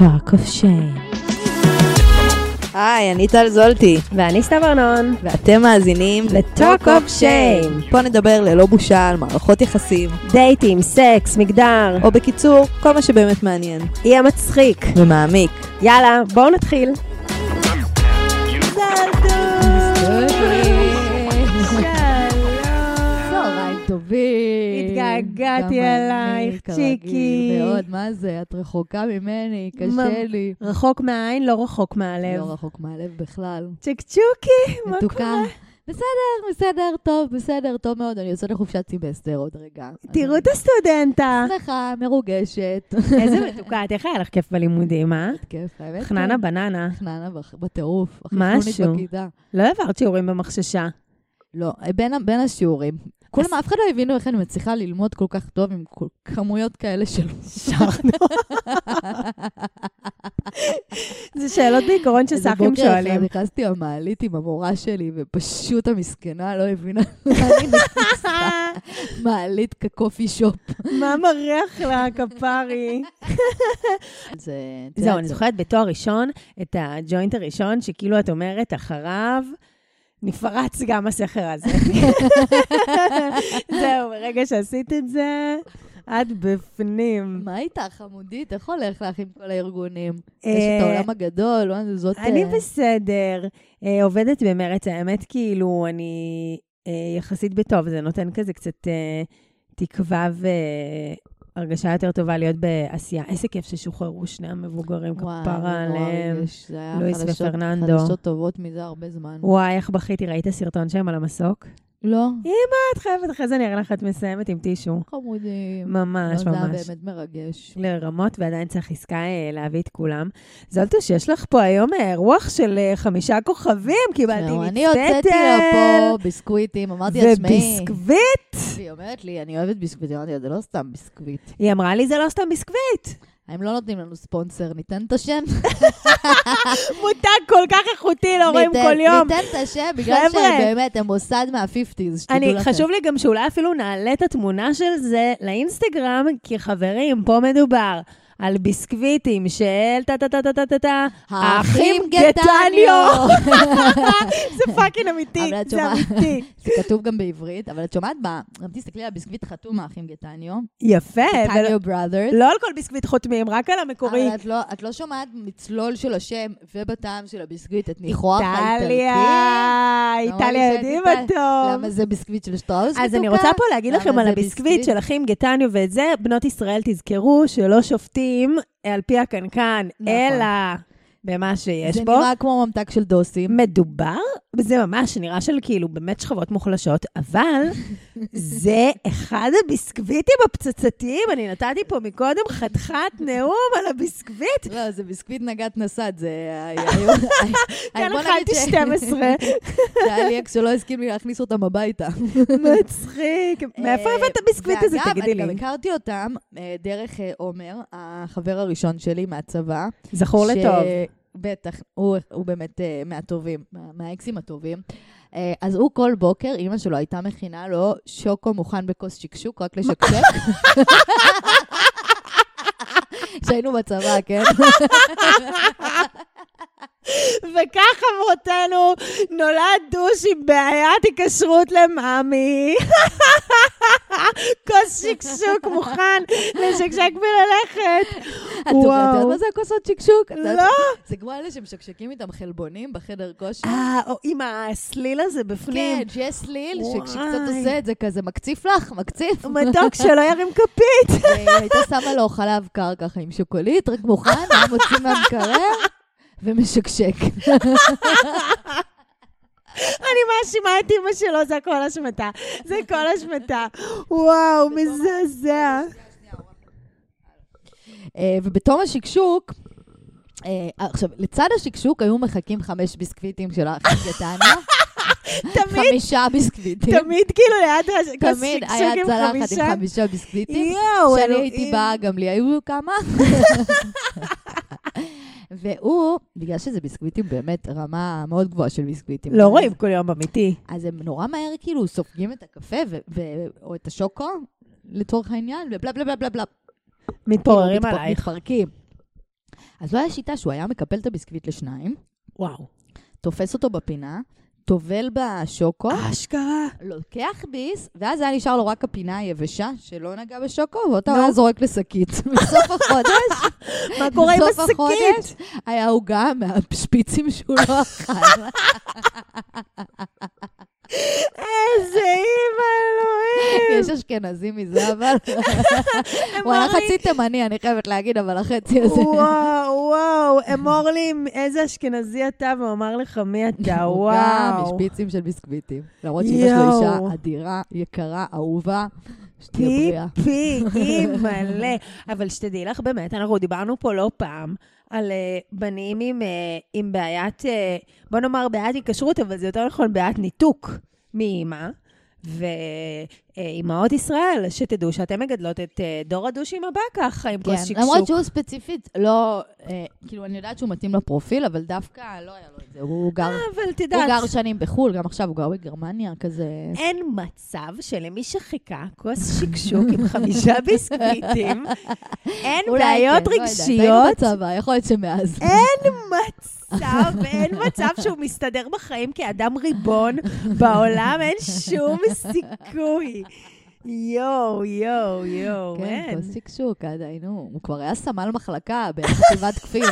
Talk of Shame. היי, אני טל זולטי, ואני סתיו ארנון. ואתם מאזינים ל-Talk of Shame. פה נדבר ללא בושה על מערכות יחסים, דייטים, סקס, מגדר, או בקיצור, כל מה שבאמת מעניין. יהיה מצחיק. ומעמיק. יאללה, בואו נתחיל. צהריים טובים. התגעגעתי גם אני, אלייך, כרגיל, צ'יקי. ועוד, מה זה? את רחוקה ממני, קשה ממ- לי. רחוק מהעין, לא רחוק מהלב. לא רחוק מהלב בכלל. צ'קצ'וקי, מה מתוקה. קורה? בסדר, בסדר, טוב, בסדר, טוב מאוד. אני יוצאת לחופשת סמסטר עוד רגע. תראו את הסטודנטה. אני שמחה, מרוגשת. איזה מתוקה, את איך היה לך כיף בלימודים, אה? כיף, האמת. חננה כן. בננה. חננה בח- בטירוף. משהו. משהו. בכיתה. לא העברת שיעורים במחששה. לא, בין, ה- בין השיעורים. כולם, אף אחד לא הבינו איך אני מצליחה ללמוד כל כך טוב עם כל- כמויות כאלה של... זה שאלות בעיקרון שסאחים איזה שואלים. בוקר אחד נכנסתי במעלית עם המורה שלי, ופשוט המסכנה לא הבינה מה אני נכנסה. מעלית כקופי שופ. מה מריח לה, כפרי? זה... את יודעת, זהו, אני זוכרת בתואר ראשון את הג'וינט הראשון, שכאילו את אומרת, אחריו נפרץ גם הסכר הזה. זהו, ברגע שעשית את זה, את בפנים. מה איתך, חמודית? איך הולך לך עם כל הארגונים? אה, יש את העולם הגדול, לא, זאת... אני אה, בסדר, אה, עובדת במרץ, האמת, כאילו, אני אה, יחסית בטוב, זה נותן כזה קצת אה, תקווה והרגשה יותר טובה להיות בעשייה. איזה כיף ששוחררו שני המבוגרים, וואי, כפרה נורא עליהם. ריגש. זה היה לואיס חדשות- ופרננדו. חדשות טובות מזה הרבה זמן. וואי, איך בכיתי, ראית סרטון שלהם על המסוק? לא, את חייבת, אחרי זה אני אראה לך, את מסיימת עם טישו. חמודים. ממש, לא, זה היה ממש. באמת מרגש. לרמות, ועדיין צריך עסקה אה, להביא את כולם. זולטוש, יש לך פה היום אה, רוח של אה, חמישה כוכבים, קיבלתי זהו, מצטטר. לא, אני הוצאתי לה פה ביסקוויטים, אמרתי לה, תשמעי. וביסקוויט. והיא אומרת לי, אני אוהבת ביסקוויט, אמרתי לה, זה לא סתם ביסקוויט. היא אמרה לי, זה לא סתם ביסקוויט. הם לא נותנים לנו ספונסר, ניתן את השם? מותג כל כך איכותי, לא רואים ניתן- כל יום. ניתן את השם, בגלל חבר'ה. שבאמת, הם מוסד מהפיפטיז, שתדעו אני, לכם. חשוב לי גם שאולי אפילו נעלה את התמונה של זה לאינסטגרם, כי חברים, פה מדובר על ביסקוויטים של טה-טה-טה-טה-טה-טה, האחים גטניו. גטניו! זה פאקינג אמיתי, אבל את זה שומעת? אמיתי. זה כתוב גם בעברית, אבל את שומעת מה? גם תסתכלי על ביסקוויט חתום האחים גטניו. יפה, ולא- גטניו בראדרס. לא על כל ביסקוויט חותמים, רק על המקורי. אבל את לא, את לא שומעת מצלול של השם ובטעם של הביסקוויט, את ניחוח האיטלקי. איטליה, איטליה שאין יודעים איטל- אותו. למה לא זה ביסקוויט של שטראוס אז אני מתוקה? רוצה פה להגיד למה לכם על זה הביסקוויט של אחים גטניו ואת זה, בנות ישראל תזכרו שלא שופטים על פי הקנקן, נכון. אלא במה שיש זה בו. נראה כמו ממתק של דוסים. מדובר, זה ממש נראה של כאילו באמת שכבות מוחלשות, אבל זה אחד הביסקוויטים הפצצתיים. אני נתתי פה מקודם חתיכת נאום על הביסקוויט. לא, זה ביסקוויט נגעת נסעת, זה... כן, אכלתי 12, זה היה לי אקס שלא הסכים לי להכניס אותם הביתה. מצחיק. מאיפה הבאת את הביסקוויט הזה, תגידי אה, ואגב, אני לי? גם הכרתי אותם אה, דרך אה, עומר, החבר הראשון שלי מהצבא. זכור ש- לטוב. בטח, הוא, הוא באמת אה, מהטובים, מה- מהאקסים הטובים. אה, אז הוא כל בוקר, אימא שלו הייתה מכינה לו שוקו מוכן בכוס שקשוק, רק לשקשק. כשהיינו בצבא, כן? וכך חברותינו, נולד דוש עם בעיית היקשרות למאמי. כוס שקשוק מוכן לשקשק וללכת. את יודעת מה זה הכוסות שקשוק? את יודעת- לא. זה כמו אלה שמשקשקים איתם חלבונים בחדר כושר. אה, או עם הסליל הזה בפנים. כן, שיש סליל, וואי. שכשקצת עושה את זה כזה, מקציף לך, מקציף. מתוק שלא ירים כפית. והיא הייתה שמה לו חלב קר ככה עם שוקולית, רק מוכן, היה מוציא מהמקרר ומשקשק. אני מאשימה את אימא שלו, זה הכל אשמתה. זה כל אשמתה. וואו, מזעזע. אה, ובתום השקשוק, אה, עכשיו, לצד השקשוק היו מחכים חמש ביסקוויטים של האחים גטניה, תמיד, חמישה ביסקוויטים. תמיד כאילו ליד הכוס תמיד היה שקשוק עם צלחת עם חמישה. חמישה ביסקוויטים. יואו, אה, כשאני אלוהים. הייתי באה, גם לי היו כמה. והוא, בגלל שזה ביסקוויטים באמת, רמה מאוד גבוהה של ביסקוויטים. כן. לא רואים כל יום אמיתי. אז הם נורא מהר כאילו סופגים את הקפה ו- ו- או את השוקו, לצורך העניין, ובלה בלה בלה בלה בלה. מתפוררים מתפ- עלייך. מתפרקים. אז לא היה שיטה שהוא היה מקפל את הביסקוויט לשניים, וואו. תופס אותו בפינה, טובל בשוקו, אה. אשכרה. לוקח ביס, ואז היה נשאר לו רק הפינה היבשה, שלא נגע בשוקו, ואותה נו. הוא היה זורק לשקית. בסוף החודש, מה קורה עם בסוף השקית? החודש, היה עוגה מהשפיצים שהוא לא אכל. איזה אימא אלוהים. יש אשכנזים מזה, אבל... הוא היה אמורי. חצי תימני, אני חייבת להגיד, אבל החצי הזה... וואו, וואו, אמור לי עם איזה אשכנזי אתה, והוא אמר לך מי אתה, עוגה וואו. משפיצים של ביסקוויטים. למרות שאימא שלו יואו. אישה אדירה, יקרה, אהובה, שתהיה פי בריאה. פי, אימא'לה. אבל שתדעי לך, באמת, אנחנו דיברנו פה לא פעם על אה, בנים עם, אה, עם בעיית, אה, בוא נאמר בעיית היקשרות, אבל זה יותר נכון בעיית ניתוק מאימא. ואימהות ישראל, שתדעו שאתן מגדלות את אה, דור הדושים הבא ככה, עם כוס כן, שקשוק. למרות שהוא ספציפית לא, אה, כאילו, אני יודעת שהוא מתאים לפרופיל, אבל דווקא לא היה לו את זה. הוא גר אבל הוא תדעת, גר שנים בחו"ל, גם עכשיו הוא גר בגרמניה, כזה... אין מצב שלמי שחיכה כוס שקשוק עם חמישה ביסקוויטים, אין אולי בעיות כן, לא יודעת, היינו רגשיות, בצבא, יכול להיות שמאז. אין מצב, אין מצב שהוא מסתדר בחיים כאדם ריבון בעולם, אין שום סיכוי. יואו, יואו, יואו, כן, אין. כוס שקשוק, עדיין, נו. הוא כבר היה סמל מחלקה בחטיבת כפיר.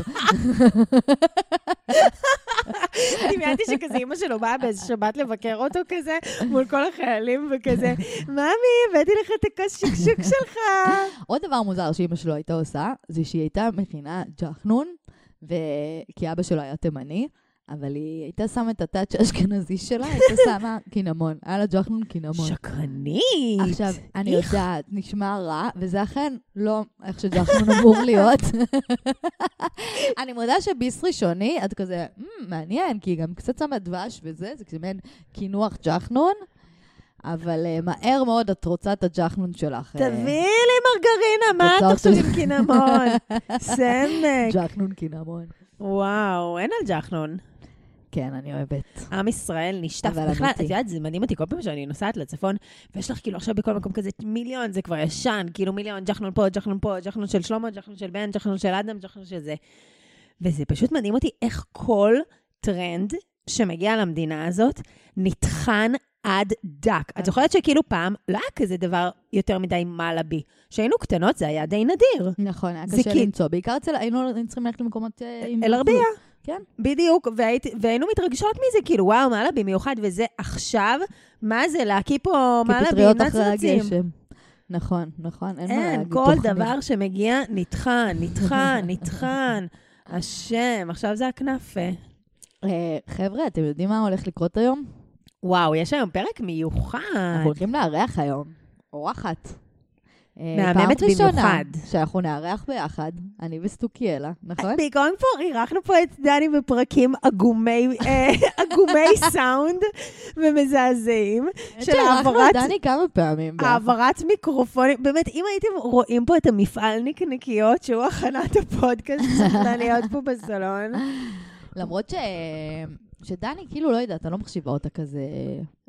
דמיינתי שכזה אימא שלו באה באיזה שבת לבקר אותו כזה, מול כל החיילים וכזה, ממי, הבאתי לך את הכוס שקשוק שלך. עוד דבר מוזר שאימא שלו הייתה עושה, זה שהיא הייתה מכינה ג'חנון, ו... כי אבא שלו היה תימני, אבל היא הייתה שמה את הטאץ' האשכנזי שלה, הייתה שמה קינמון. היה לה ג'חנון קינמון. שקרנית. עכשיו, אה, אני איך? יודעת, נשמע רע, וזה אכן לא איך שג'חנון אמור להיות. אני מודה שביס ראשוני, את כזה, "מ, מעניין, כי היא גם קצת שמה דבש וזה, זה כזה מעין קינוח ג'חנון, אבל אה, מהר מאוד את רוצה את הג'חנון שלך. אה, תביאי לי מרגרינה, מה את תוצאות עכשיו של- עם קינמון? סמק. ג'חנון קינמון. וואו, אין על ג'חנון. כן, אני אוהבת. עם ישראל נשטף. אבל בכלל, את אמיתי. יודעת, זה מדהים אותי כל פעם שאני נוסעת לצפון, ויש לך כאילו עכשיו בכל מקום כזה מיליון, זה כבר ישן, כאילו מיליון, ג'חנון פה, ג'חנון פה, ג'חנון של שלמה, ג'חנון של בן, ג'חנון של אדם, ג'חנון של זה. וזה פשוט מדהים אותי איך כל טרנד שמגיע למדינה הזאת נטחן עד דק. אוקיי. את זוכרת שכאילו פעם לא היה כזה דבר יותר מדי מעלה בי. כשהיינו קטנות זה היה די נדיר. נכון, היה זה קשה כי- למצוא, בעיקר אצל, היינו צריכים ללכת למקומות אה, עם... אל-ערבייה. כן. בדיוק, והייתי, והיינו מתרגשות מזה, כאילו, וואו, מעלה במיוחד, וזה עכשיו, מה זה, להקיא פה מעלה כפטריות בימת אחרי זרצים. הגשם. נכון, נכון, אין מה להגיד. אין, כל תוכנית. דבר שמגיע נטחן, נטחן, נטחן. השם, עכשיו זה הכנאפה. אה, חבר'ה, אתם יודעים מה הולך לקרות היום? אה, וואו, יש היום פרק מיוחד. אנחנו הולכים לארח היום, אורחת. אה, מהממת פעם ראשונה במיוחד. שאנחנו נארח ביחד, אני וסטוקיאלה, נכון? בעיקרון פה אירחנו פה את דני בפרקים עגומי אה, עגומי סאונד ומזעזעים של שאירחנו את העברת כן, דני כמה פעמים. ביחד. העברת מיקרופונים, באמת, אם הייתם רואים פה את המפעל נקניקיות, שהוא הכנת הפודקאסט, שצריך להיות פה בסלון. למרות ש... שדני, כאילו, לא יודעת, אני לא מחשיבה אותה כזה...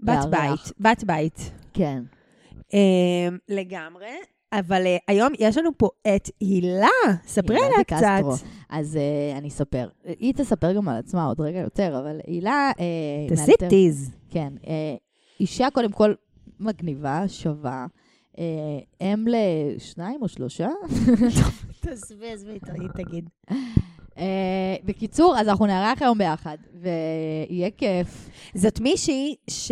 בת לארח. בית, בת בית. כן. אה, לגמרי. אבל אה, היום יש לנו פה את הילה, ספרי הילה עליה דקסטרו. קצת. אז אה, אני אספר. היא תספר גם על עצמה עוד רגע יותר, אבל הילה... אה, תעשי מאלתר- טיז. כן. אה, אישה קודם כל מגניבה, שווה. אה, אם לשניים או שלושה? תעזבי, עזבי, תגיד. אה, בקיצור, אז אנחנו נארח היום ביחד, ויהיה כיף. זאת מישהי ש...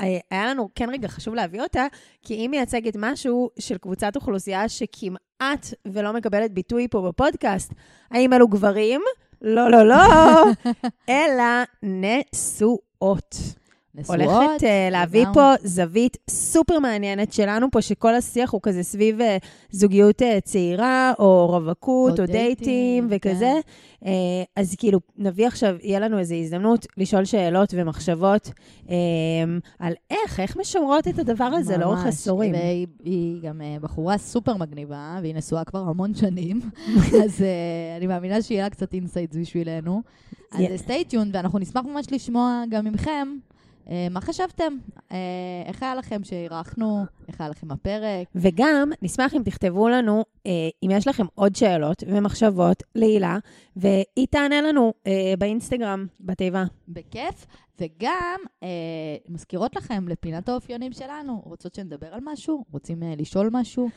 אה, היה לנו כן רגע חשוב להביא אותה, כי היא מייצגת משהו של קבוצת אוכלוסייה שכמעט ולא מקבלת ביטוי פה בפודקאסט. האם אלו גברים? לא, לא, לא, אלא נשואות. נשואות. הולכת uh, להביא לגמרי. פה זווית סופר מעניינת שלנו פה, שכל השיח הוא כזה סביב uh, זוגיות uh, צעירה, או רווקות, או או דייטים דייטים, כן. וכזה. Uh, אז כאילו, נביא עכשיו, יהיה לנו איזו הזדמנות לשאול שאלות ומחשבות um, על איך, איך משמרות את הדבר הזה לאורך ממש. עשורים. והיא היא גם אה, בחורה סופר מגניבה, והיא נשואה כבר המון שנים, אז אה, אני מאמינה שיהיה לה קצת אינסייטס בשבילנו. אז אה, Yeah. סטייטיון, ואנחנו נשמח ממש לשמוע גם ממכם. אה, מה חשבתם? אה, איך היה לכם שאירחנו? איך היה לכם הפרק? וגם, נשמח אם תכתבו לנו אה, אם יש לכם עוד שאלות ומחשבות להילה, והיא תענה לנו אה, באינסטגרם, בתיבה. בכיף, וגם אה, מזכירות לכם לפינת האופיונים שלנו. רוצות שנדבר על משהו? רוצים אה, לשאול משהו?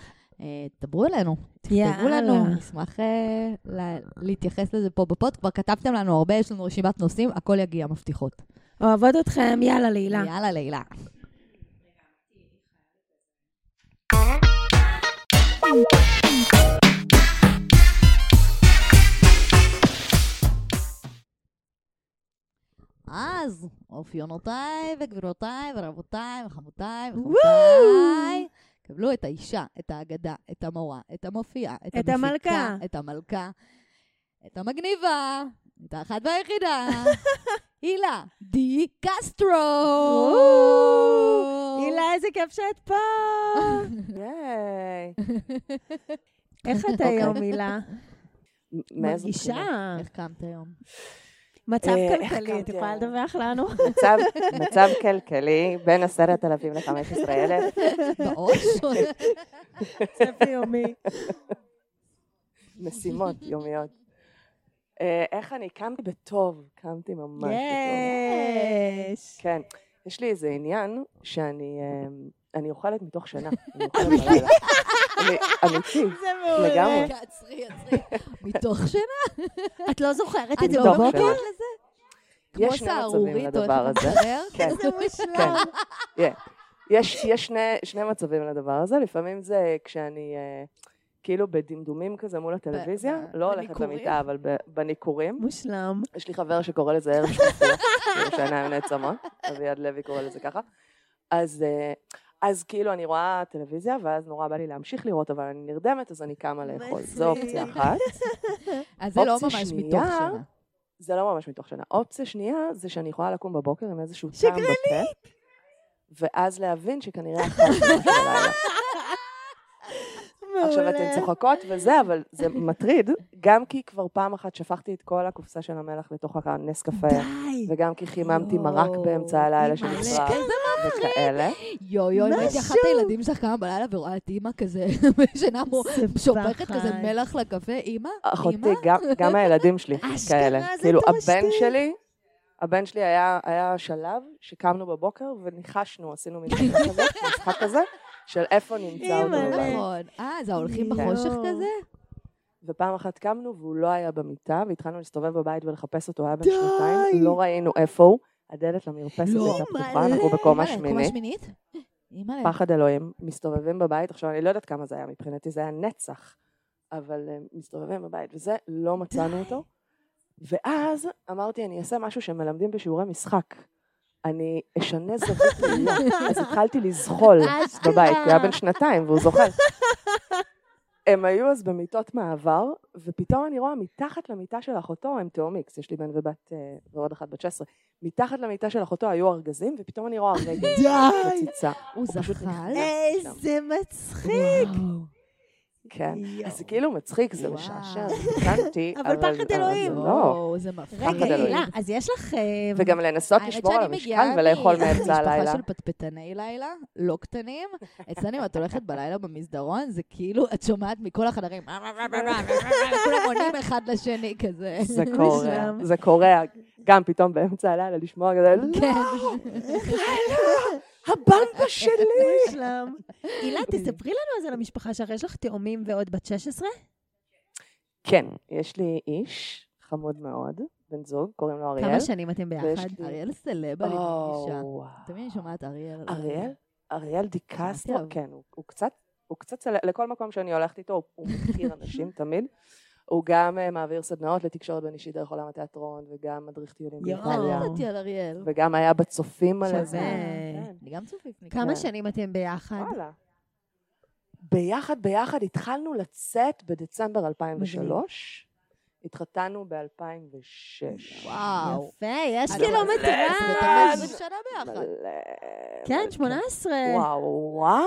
אה, דברו אלינו, תכתבו יאללה. לנו, נשמח אה, לה, להתייחס לזה פה בפוד. כבר כתבתם לנו הרבה, יש לנו רשימת נושאים, הכל יגיע, מבטיחות. אוהבות אתכם, יאללה להילה. יאללה, לילה. אז, אופיונותיי וגבירותיי ורבותיי וחמותיי וחמותיי, קבלו את האישה, את האגדה, את המורה, את המופיעה, את, את המפיקה, המלכה. את המלכה, את המגניבה, את האחת והיחידה, הילה די קסטרו. הילה, איזה כיף שאת פה! איך את היום, הילה? מאיזה מרגישה? אוקיי. בחינה? איך קמת היום? מצב אה, איך כלכלי, את קמתי יכולה היום? לדווח לנו? מצב, מצב כלכלי בין עשרת אלפים לחמש עשרה אלף. בראש? צפי יומי. משימות יומיות. אה, איך אני? קמתי בטוב, קמתי ממש בטוב. יש! כן. יש לי איזה עניין שאני אה, אני אוכלת מתוך שינה. אני אוכלת בלילה. אני- אמיתי. זה מעולה. לגמרי. רגע, עצרי, עצרי. מתוך שינה? את לא זוכרת את את זה לא מתוך בבוקר? בבוקר? שינה. כמו יש שני מצבים סהרורית או איך לדבר אתה הזה. מדבר? כן. זה מושלם. יש, יש שני, שני מצבים לדבר הזה, לפעמים זה כשאני אה, כאילו בדמדומים כזה מול הטלוויזיה, ב- לא הולכת בניכורים? למיטה, אבל ב- בניכורים. מושלם. יש לי חבר שקורא לזה ערב שקופיה, כאילו שהעיניים נעצמות, אביעד לוי קורא לזה ככה. אז, אה, אז כאילו אני רואה טלוויזיה, ואז נורא בא לי להמשיך לראות, אבל אני נרדמת, אז אני קמה לאכול. זו אופציה אחת. אז זה לא אופציה ממש שנייה, מתוך שינה. זה לא ממש מתוך שינה. אופציה שנייה זה שאני יכולה לקום בבוקר עם איזשהו טעם בפה, ואז להבין שכנראה אכלתי משהו בלילה. מעולה. עכשיו אתן צוחקות וזה, אבל זה מטריד, גם כי כבר פעם אחת שפכתי את כל הקופסה של המלח לתוך הנס קפה, די. וגם כי חיממתי יואו, מרק באמצע הלילה אימא'לה, שנפרע, איזה וכאלה. יואו, יואו, אם הייתי אחת משהו. הילדים שלך קמה בלילה ורואה את אימא כזה, שינה מו- זה שופכת פחד. כזה מלח לקפה, אימא? אחותי, אימא? גם- גם הילדים שלי אשכרה, כאלה. זה כאילו, דורשתי. הבן שלי, הבן שלי היה היה שלב שקמנו בבוקר וניחשנו, עשינו מין דבר כזה, משחק כזה, של איפה נמצא אותו אימא'לה. בלילה. נכון. אה, זה ההולכים כן. יואו. בחושך כזה? ופעם אחת קמנו והוא לא היה במיטה, והתחלנו להסתובב בבית ולחפש אותו, הוא היה בן די. שנתיים, לא ראינו איפה הוא, הדלת למרפסת לא. הייתה פתוחה, אימא'לה, אנחנו בקומה אימא'לה, קומה שמינית, שמינית? אימא'לה. פחד אלוהים, מסתובבים בבית, עכשיו אני לא יודעת כמה זה היה, מבחינתי זה היה נצח, אבל אה, מסתובבים בבית, וזה, לא מצאנו אותו. ואז אמרתי, אני אעשה משהו שמלמדים בשיעורי משחק. אני אשנה זווית ראייה. אז התחלתי לזחול אשכרה. בבית, כי הוא היה בן שנתיים והוא זוחל. הם היו אז במיטות מעבר, ופתאום אני רואה מתחת למיטה של אחותו, הם תאום איקס, יש לי בן ובת, אה, ועוד אחת בת 16, מתחת למיטה של אחותו היו ארגזים, ופתאום אני רואה רגל די. חציצה. הוא פשוט זחל? נכנס. איזה לא. מצחיק. וואו. כן. יואו. אז זה כאילו מצחיק, זה וואו. משעשע, הבנתי. אבל פחד זה אלוהים. לא. וואו, זה מפחיד. רגע, אלוהים. הילה, אז יש לך... אה, וגם לנסות האמת לשמור על שאני המשקל מגיעה ולאכול מ- מאמצע הלילה. משפחה של פטפטני לילה, לא קטנים. אצלנו, אם את הולכת בלילה במסדרון, זה כאילו, את שומעת מכל החדרים, כולם עונים אחד לשני כזה. זה קורה, מושלם. זה קורה. גם פתאום באמצע הלילה לשמוע כזה, "לא, כן. הבמבה שלי! מושלם. הילה, תספרי לנו אז על המשפחה שלך. יש לך תאומים ועוד בת 16? כן, יש לי איש חמוד מאוד, בן זוג, קוראים לו אריאל. כמה שנים אתם ויש ביחד? לי- אריאל סלב, אני מרגישה. או, תמיד אני שומעת אריאל. אוקיי. אריאל? אריאל דיקסטרו, עליו. כן, הוא- הוא קצת, הוא קצת, סל- לכל מקום שאני הולכת איתו, הוא- הוא מכיר אנשים תמיד. הוא גם אה, מעביר סדנאות לתקשורת בין אישית דרך עולם התיאטרון, וגם מדריך טיולים יואו. באיטליה, לא, ידעתי על אריאל. וגם היה בצופים על שווה. איזה... כן. אני כן. גם צופיפניקית. כמה שנים אתם ביחד? וואלה. ביחד, ביחד, התחלנו לצאת בדצמבר 2003, התחתנו ב-2006. וואו. יפה, יש כאילו אני- לא זה קילומטרז. מטורף. ואתם 20 שנה ביחד. כן, 18. וואו, וואו.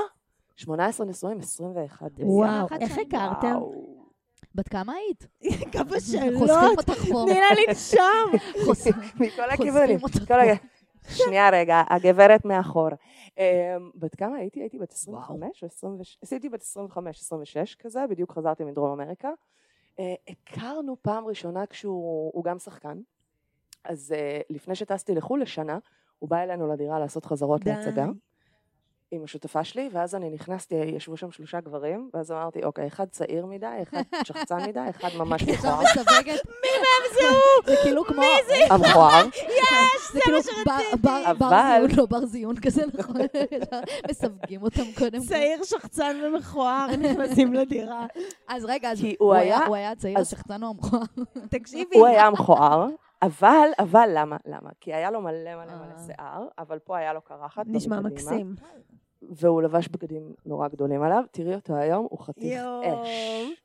18 נשואים, 21. וואו, אחת איך שם. הכרתם? וואו. בת כמה היית? כמה לא, חושפים אותך פה. תני לה לנשום. חושפים- מכל חושפים הכיוונים. אותך כל פה. הכ- שנייה רגע, הגברת מאחור. אמ, בת כמה הייתי? הייתי בת 25 או 26? עשיתי בת 25, 26 כזה, בדיוק חזרתי מדרום אמריקה. אה, הכרנו פעם ראשונה כשהוא הוא גם שחקן, אז אה, לפני שטסתי לחו"ל לשנה, הוא בא אלינו לדירה לעשות חזרות די. להצגה. עם השותפה שלי, ואז אני נכנסתי, ישבו שם שלושה גברים, ואז אמרתי, אוקיי, אחד צעיר מדי, אחד שחצן מדי, אחד ממש עכשיו מכוער. מסווגת. מי מהם זה הוא? זה כאילו כמו... מי זה? המכוער. זה כאילו בר- בר- בר אבל- זיון, לא בר זיון כזה, נכון? מסווגים אותם קודם. כל. צעיר, שחצן ומכוער, נכנסים לדירה. אז רגע, אז כי הוא הוא היה היה- הוא היה צעיר, אז- שחצן או המכוער. תקשיבי. הוא היה מכוער, אבל, אבל למה? למה? כי היה לו מלא מלא מלא אה. שיער, אבל פה היה לו קרחת. לא נשמע מקדימה, מקסים. והוא לבש בגדים נורא גדולים עליו, תראי אותו היום, הוא חתיך יואו. אש.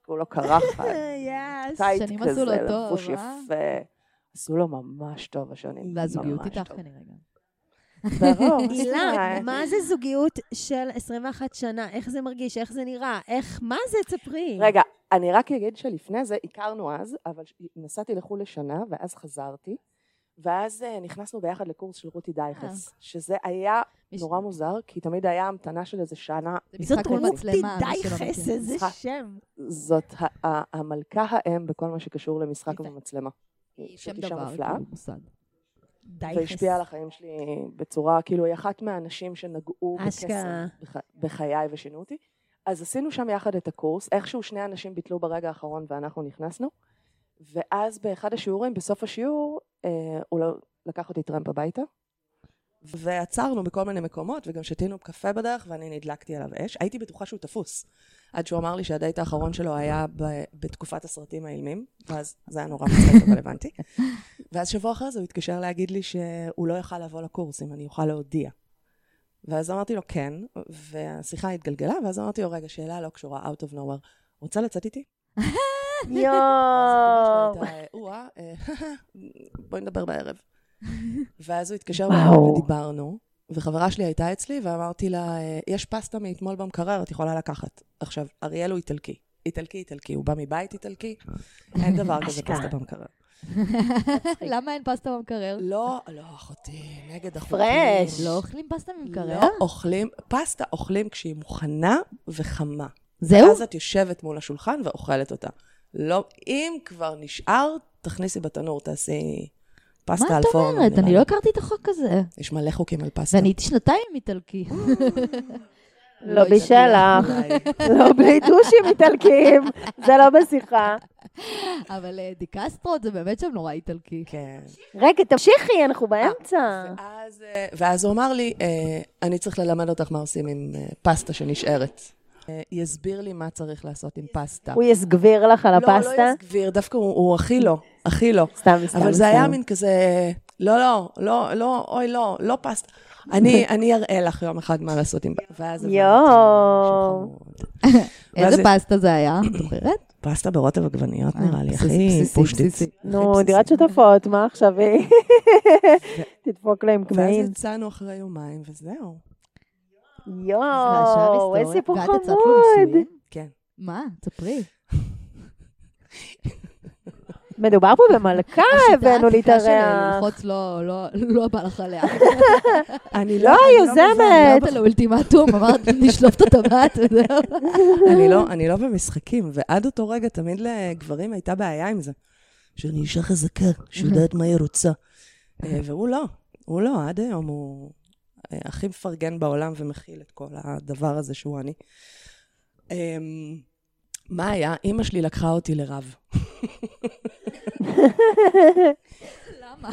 הוא לא קרחת, יס. טייט שנים עשו כזה, לו לא טוב, לבוש אה? יפה. עשו לו ממש טוב השנים. והזוגיות ממש איתך טוב. כנראה גם. ברור. אה, הילה, מה זה זוגיות של 21 שנה? איך זה מרגיש? איך זה נראה? איך, מה זה? תספרי. רגע, אני רק אגיד שלפני זה הכרנו אז, אבל ש- נסעתי לחו"ל לשנה, ואז חזרתי, ואז אה, נכנסנו ביחד לקורס של רותי אה. דייכס, שזה היה מיש- נורא מוזר, כי תמיד היה המתנה של איזה שנה, זה זאת משחק רותי במצלמה, מי שלא די מכיר. חס, איזה משחק. שם. זאת ה- ה- המלכה האם בכל מה שקשור למשחק יפה. ומצלמה. היא שם פשוט אישה דבר, מופלאה, כאילו, מושג. די חס. והשפיעה על החיים שלי בצורה, כאילו היא אחת מהאנשים שנגעו אשכרה. בקסם בח- בחיי ושינו אותי. אז עשינו שם יחד את הקורס, איכשהו שני אנשים ביטלו ברגע האחרון ואנחנו נכנסנו, ואז באחד השיעורים, בסוף השיעור, אה, הוא לא- לקח אותי טרמפ הביתה, ועצרנו בכל מיני מקומות, וגם שתינו קפה בדרך, ואני נדלקתי עליו אש. הייתי בטוחה שהוא תפוס, עד שהוא אמר לי שהדייט האחרון שלו היה ב- בתקופת הסרטים האילמים, ואז זה היה נורא מצחיק אבל הבנתי. ואז שבוע אחרי זה הוא התקשר להגיד לי שהוא לא יכל לבוא לקורס, אם אני אוכל להודיע. ואז אמרתי לו כן, והשיחה התגלגלה, ואז אמרתי לו, רגע, שאלה לא קשורה, out of nowhere, רוצה לצאת איתי? ואז התגובה שלו הייתה, "או-אה, אה, בואי נדבר בערב. ואז הוא התקשר בערב וואו. ודיברנו, וחברה שלי הייתה אצלי, ואמרתי לה, "אה, יש פסטה מאתמול במקרר, את יכולה לקחת. עכשיו, אריאל הוא איטלקי. איטלקי, איטלקי, הוא בא מבית איטלקי, אין דבר כזה אשכרה. פסטה במקרר. למה אין פסטה במקרר? לא, לא, אחותי, נגד החוקים. פרש. לא אוכלים פסטה במקרר? לא אוכלים, פסטה אוכלים כשהיא מוכנה וחמה. זהו? אז את יושבת מול השולחן ואוכלת אותה. לא, אם כבר נשאר, תכניסי בתנור, תעשי מה פסטה על את פורנו. אומרת? נראה אני לי. לא הכרתי את החוק הזה. יש מלא חוקים על פסטה. ואני הייתי שנתיים עם איטלקי. לא בשלך. די. לא בלי דושים איטלקיים, זה לא בשיחה. אבל אה, דיקסטרות זה באמת שם נורא איטלקי. כן. רגע, תמשיכי, אנחנו באמצע. ואז, אה, ואז הוא אמר לי, אה, אני צריך ללמד אותך מה עושים עם אה, פסטה שנשארת. אה, יסביר לי מה צריך לעשות עם פסטה. הוא יסגביר לך על לא, הוא הפסטה? לא יסגביר, דווקא הוא, הוא הכי לא, הכי לא. סתם, סתם. אבל זה סתם. היה מין כזה, לא, לא, לא, לא, אוי, לא, לא פסטה. אני, אני אראה לך יום אחד מה לעשות עם... ואז הבנתי יואו. שהוא חמוד. איזה ואז- פסטה זה היה? את זוכרת? אה, פסטה ברוטב עגבניות נראה לי, בסיסי, הכי בסיסי, פושטיץ. בסיסי. נו, דירת שותפות, מה עכשיו היא? תדפוק להם כן. ואז קמעין. יצאנו אחרי יומיים, וזהו. והשאר יואו, היסטוריה. איזה סיפור ואת יצאת לו חמוד. נישואים? כן. מה? ספרי. מדובר פה במלכה, הבאנו להתארח. ללחוץ לא, לא, לא בא לך עליה. אני לא, היוזמת. נתת לו אולטימטום, אמרת, נשלוף את הטבעת וזהו. אני לא, אני לא במשחקים, ועד אותו רגע תמיד לגברים הייתה בעיה עם זה. שאני אישה חזקה, שיודעת מה היא רוצה. אה, והוא לא, הוא לא, עד היום הוא אה, הכי מפרגן בעולם ומכיל את כל הדבר הזה שהוא אני. אמ, מה היה? אימא שלי לקחה אותי לרב. למה?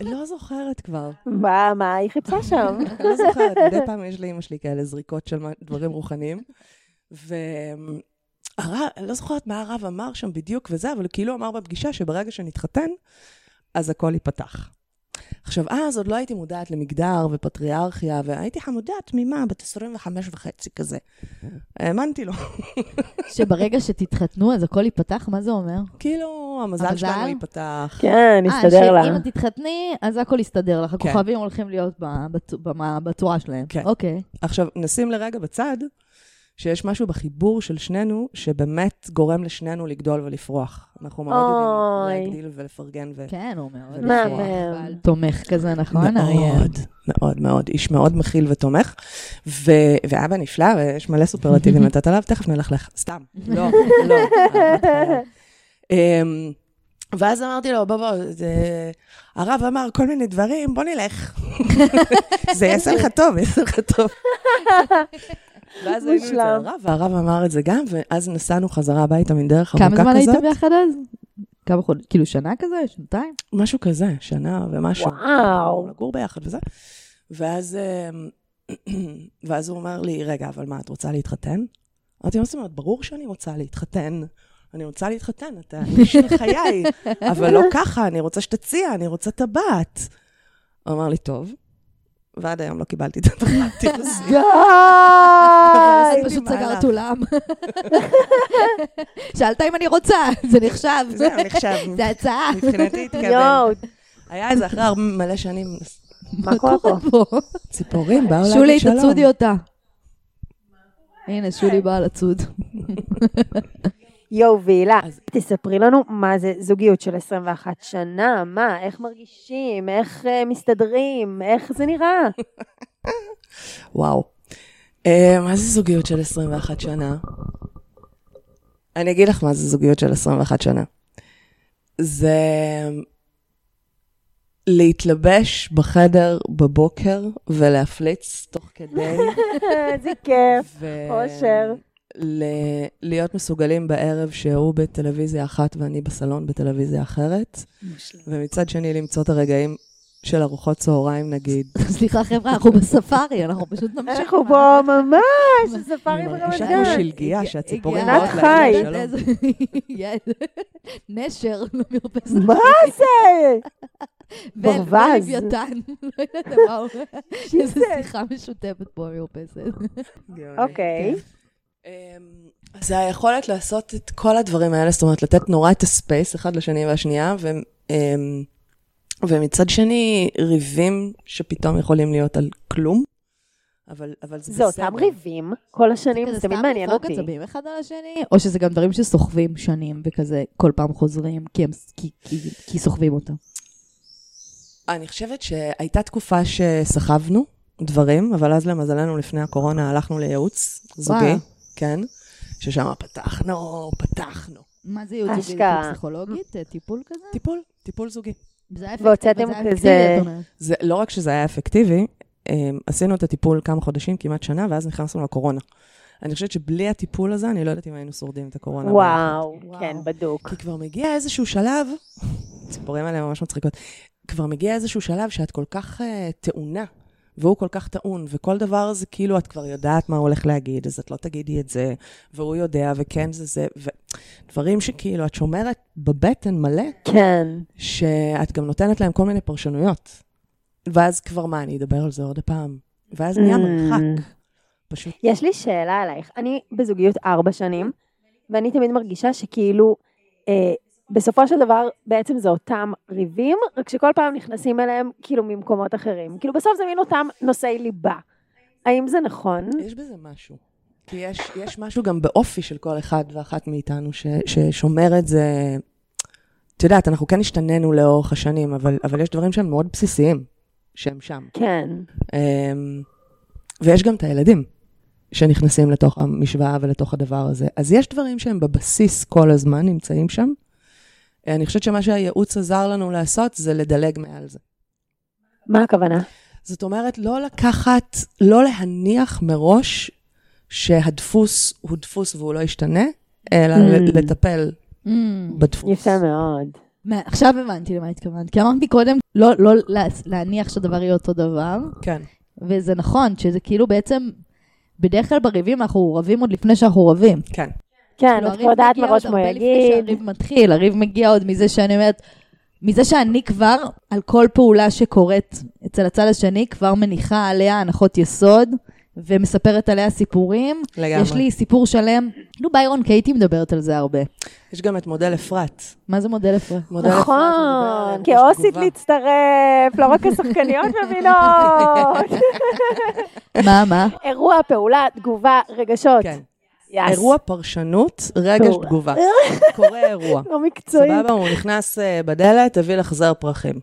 לא זוכרת כבר. מה, מה היא חיפשה שם? לא זוכרת, מדי פעם יש לאימא שלי כאלה זריקות של מה- דברים רוחניים. ואני לא זוכרת מה הרב אמר שם בדיוק וזה, אבל הוא כאילו אמר בפגישה שברגע שנתחתן, אז הכל ייפתח. עכשיו, אז עוד לא הייתי מודעת למגדר ופטריארכיה, והייתי חמודה תמימה, בת 25 וחצי כזה. האמנתי לו. שברגע שתתחתנו אז הכל ייפתח? מה זה אומר? כאילו, המזל המזל? שלנו ייפתח. כן, אה, נסתדר לה. שאם את תתחתני, אז הכל יסתדר לך. הכוכבים הולכים להיות ב- בת- במה- בצורה שלהם. כן. אוקיי. עכשיו, נשים לרגע בצד שיש משהו בחיבור של שנינו, שבאמת גורם לשנינו לגדול ולפרוח. אנחנו מאוד אוי. יודעים להגדיל ולפרגן ו... כן, הוא מאוד מהמם. יפה, אבל תומך כזה, נכון, אריה? מאוד, מאוד מאוד, איש מאוד מכיל ותומך, ו- ואבא נפלא, ויש מלא סופרלטיבים לתת עליו, תכף נלך לך, סתם, לא, לא. אהבת חייו. אמ, ואז אמרתי לו, בוא, בוא, זה- הרב אמר כל מיני דברים, בוא נלך. זה יעשה לך טוב, יעשה לך טוב. ואז היינו אצל מושלם. הרב, והרב אמר את זה גם, ואז נסענו חזרה הביתה מדרך עמוקה כמה כזאת. זמן הייתם ביחד אז? כמה חודשים? כאילו שנה כזה? שנתיים? משהו כזה, שנה ומשהו. וואו. לגור ביחד וזה. ואז, אמ, ואז הוא אומר לי, רגע, אבל מה, את רוצה להתחתן? אמרתי, מה זאת אומרת, ברור שאני רוצה להתחתן. אני רוצה להתחתן, אתה איש של חיי, אבל לא ככה, אני רוצה שתציע, אני רוצה טבעת. הוא אמר לי, טוב. ועד היום לא קיבלתי את הטבעת, תירסי. די! אז הייתי אה, פשוט מהלך. סגרת אולם. שאלת אם אני רוצה, זה נחשב. זהו, נחשב. זה הצעה. מבחינתי התקבל. יואו, היה איזה אחרי הרבה- מלא שנים, מה קורה פה? ציפורים באו שולי, להגיד שלום. תצודי אותה. הנה, שולי באה לצוד. יואו, והילה, אז- תספרי לנו מה זה זוגיות של 21 שנה, מה, איך מרגישים, איך אה, מסתדרים, איך זה נראה? וואו. אה, מה זה זוגיות של 21 שנה? אני אגיד לך מה זה זוגיות של 21 שנה. זה אמ, להתלבש בחדר בבוקר ולהפליץ תוך כדי. אה, איזה כיף. ו- אושר. ל- להיות מסוגלים בערב שהוא בטלוויזיה אחת ואני בסלון בטלוויזיה אחרת. ומצד שני למצוא את הרגעים של ארוחות צהריים נגיד. סליחה, חבר'ה, אנחנו בספארי, אנחנו פשוט נמשיך. אנחנו פה ממש, ספארי אני אה, ברמת מרגישה גן. כמו שלגיה שהציפורים הגיע- באות ענת חי. להם שלום. יאללה. נשר למרפסת. מה זה? ברווז. ולוויתן. לא יודעת מה הוא... איזו שיחה משותפת פה במרפסת. אוקיי. אמ, זה היכולת לעשות את כל הדברים האלה, זאת אומרת, לתת נורא את הספייס אחד לשני והשנייה, ו, אמ, ומצד שני, ריבים שפתאום יכולים להיות על כלום, אבל, אבל זה זה בסדר. אותם ריבים כל השנים, זה תמיד מעניין כזה סתם אותי. לפרוק עצבים אחד על השני, או שזה גם דברים שסוחבים שנים וכזה כל פעם חוזרים, כי הם- כי- כי- כי סוחבים אותם. אני חושבת שהייתה תקופה שסחבנו דברים, אבל אז למזלנו לפני הקורונה הלכנו לייעוץ זוגי, וואלה. כן, ששם פתחנו, פתחנו. מה זה ייעוץ זוגי? אשכרה. זה פסיכולוגית? אה, טיפול כזה? טיפול, טיפול זוגי. זה היה והוצאתם אבל זה היה כזה- אפקטיבי, את אומרת. זה לא רק שזה היה אפקטיבי, אמ, עשינו את הטיפול כמה חודשים, כמעט שנה, ואז נכנסנו לקורונה. אני חושבת שבלי הטיפול הזה, אני לא יודעת אם היינו שורדים את הקורונה. ביחד. וואו, וואו. כן, בדוק. כי כבר מגיע איזשהו שלב, הציפורים האלה ממש מצחיקות, כבר מגיע איזשהו שלב שאת כל כך אה, טעונה, והוא כל כך טעון, וכל דבר זה כאילו, את כבר יודעת מה הוא הולך להגיד, אז את לא תגידי את זה, והוא יודע, וכן זה זה, ודברים שכאילו, את שומרת בבטן מלא, כן. שאת גם נותנת להם כל מיני פרשנויות. ואז כבר מה, אני אדבר על זה עוד הפעם. ואז נהיה מרחק. פשוט יש לי שאלה אלייך. אני בזוגיות ארבע שנים, ואני תמיד מרגישה שכאילו, אה, בסופו של דבר, בעצם זה אותם ריבים, רק שכל פעם נכנסים אליהם כאילו ממקומות אחרים. כאילו בסוף זה מין אותם נושאי ליבה. האם זה נכון? יש בזה משהו. כי יש, יש משהו גם באופי של כל אחד ואחת מאיתנו ש, ששומר את זה. את יודעת, אנחנו כן השתננו לאורך השנים, אבל, אבל יש דברים שהם מאוד בסיסיים, שהם שם. כן. אמ, ויש גם את הילדים שנכנסים לתוך המשוואה ולתוך הדבר הזה. אז יש דברים שהם בבסיס כל הזמן, נמצאים שם. אני חושבת שמה שהייעוץ עזר לנו לעשות זה לדלג מעל זה. מה הכוונה? זאת אומרת, לא לקחת, לא להניח מראש שהדפוס הוא דפוס והוא לא ישתנה, אלא Mm. לטפל Mm. בדפוס. יפה מאוד. מה- עכשיו הבנתי למה התכוונת, כי אמרת מקודם לא, לא לה- להניח שהדבר יהיה אותו דבר, כן. וזה נכון, שזה כאילו בעצם, בדרך כלל בריבים אנחנו רבים עוד לפני שאנחנו רבים. כן. כן, כאילו, את הריב כבר יודעת מגיע מראש עוד מה הוא הרבה לפני יגיד. שהריב מתחיל, הריב מגיע עוד מזה שאני אומרת, מזה שאני כבר, על כל פעולה שקורית אצל הצד השני, כבר מניחה עליה הנחות יסוד, ומספרת עליה סיפורים. לגמרי. יש לי סיפור שלם נו, ביירון קייטי מדברת על זה הרבה. יש גם את מודל אפרת. מה זה מודל אפרת? מודל אפרת נכון, מדבר עליהם, יש כאוסית תגובה. להצטרף, לא רק השחקניות מבינות. מה, מה? אירוע, פעולה, תגובה, רגשות. כן. יס. אירוע פרשנות, רגש טוב. תגובה. קורה אירוע. לא מקצועי. סבבה, הוא נכנס אה, בדלת, הביא לך זר פרחים.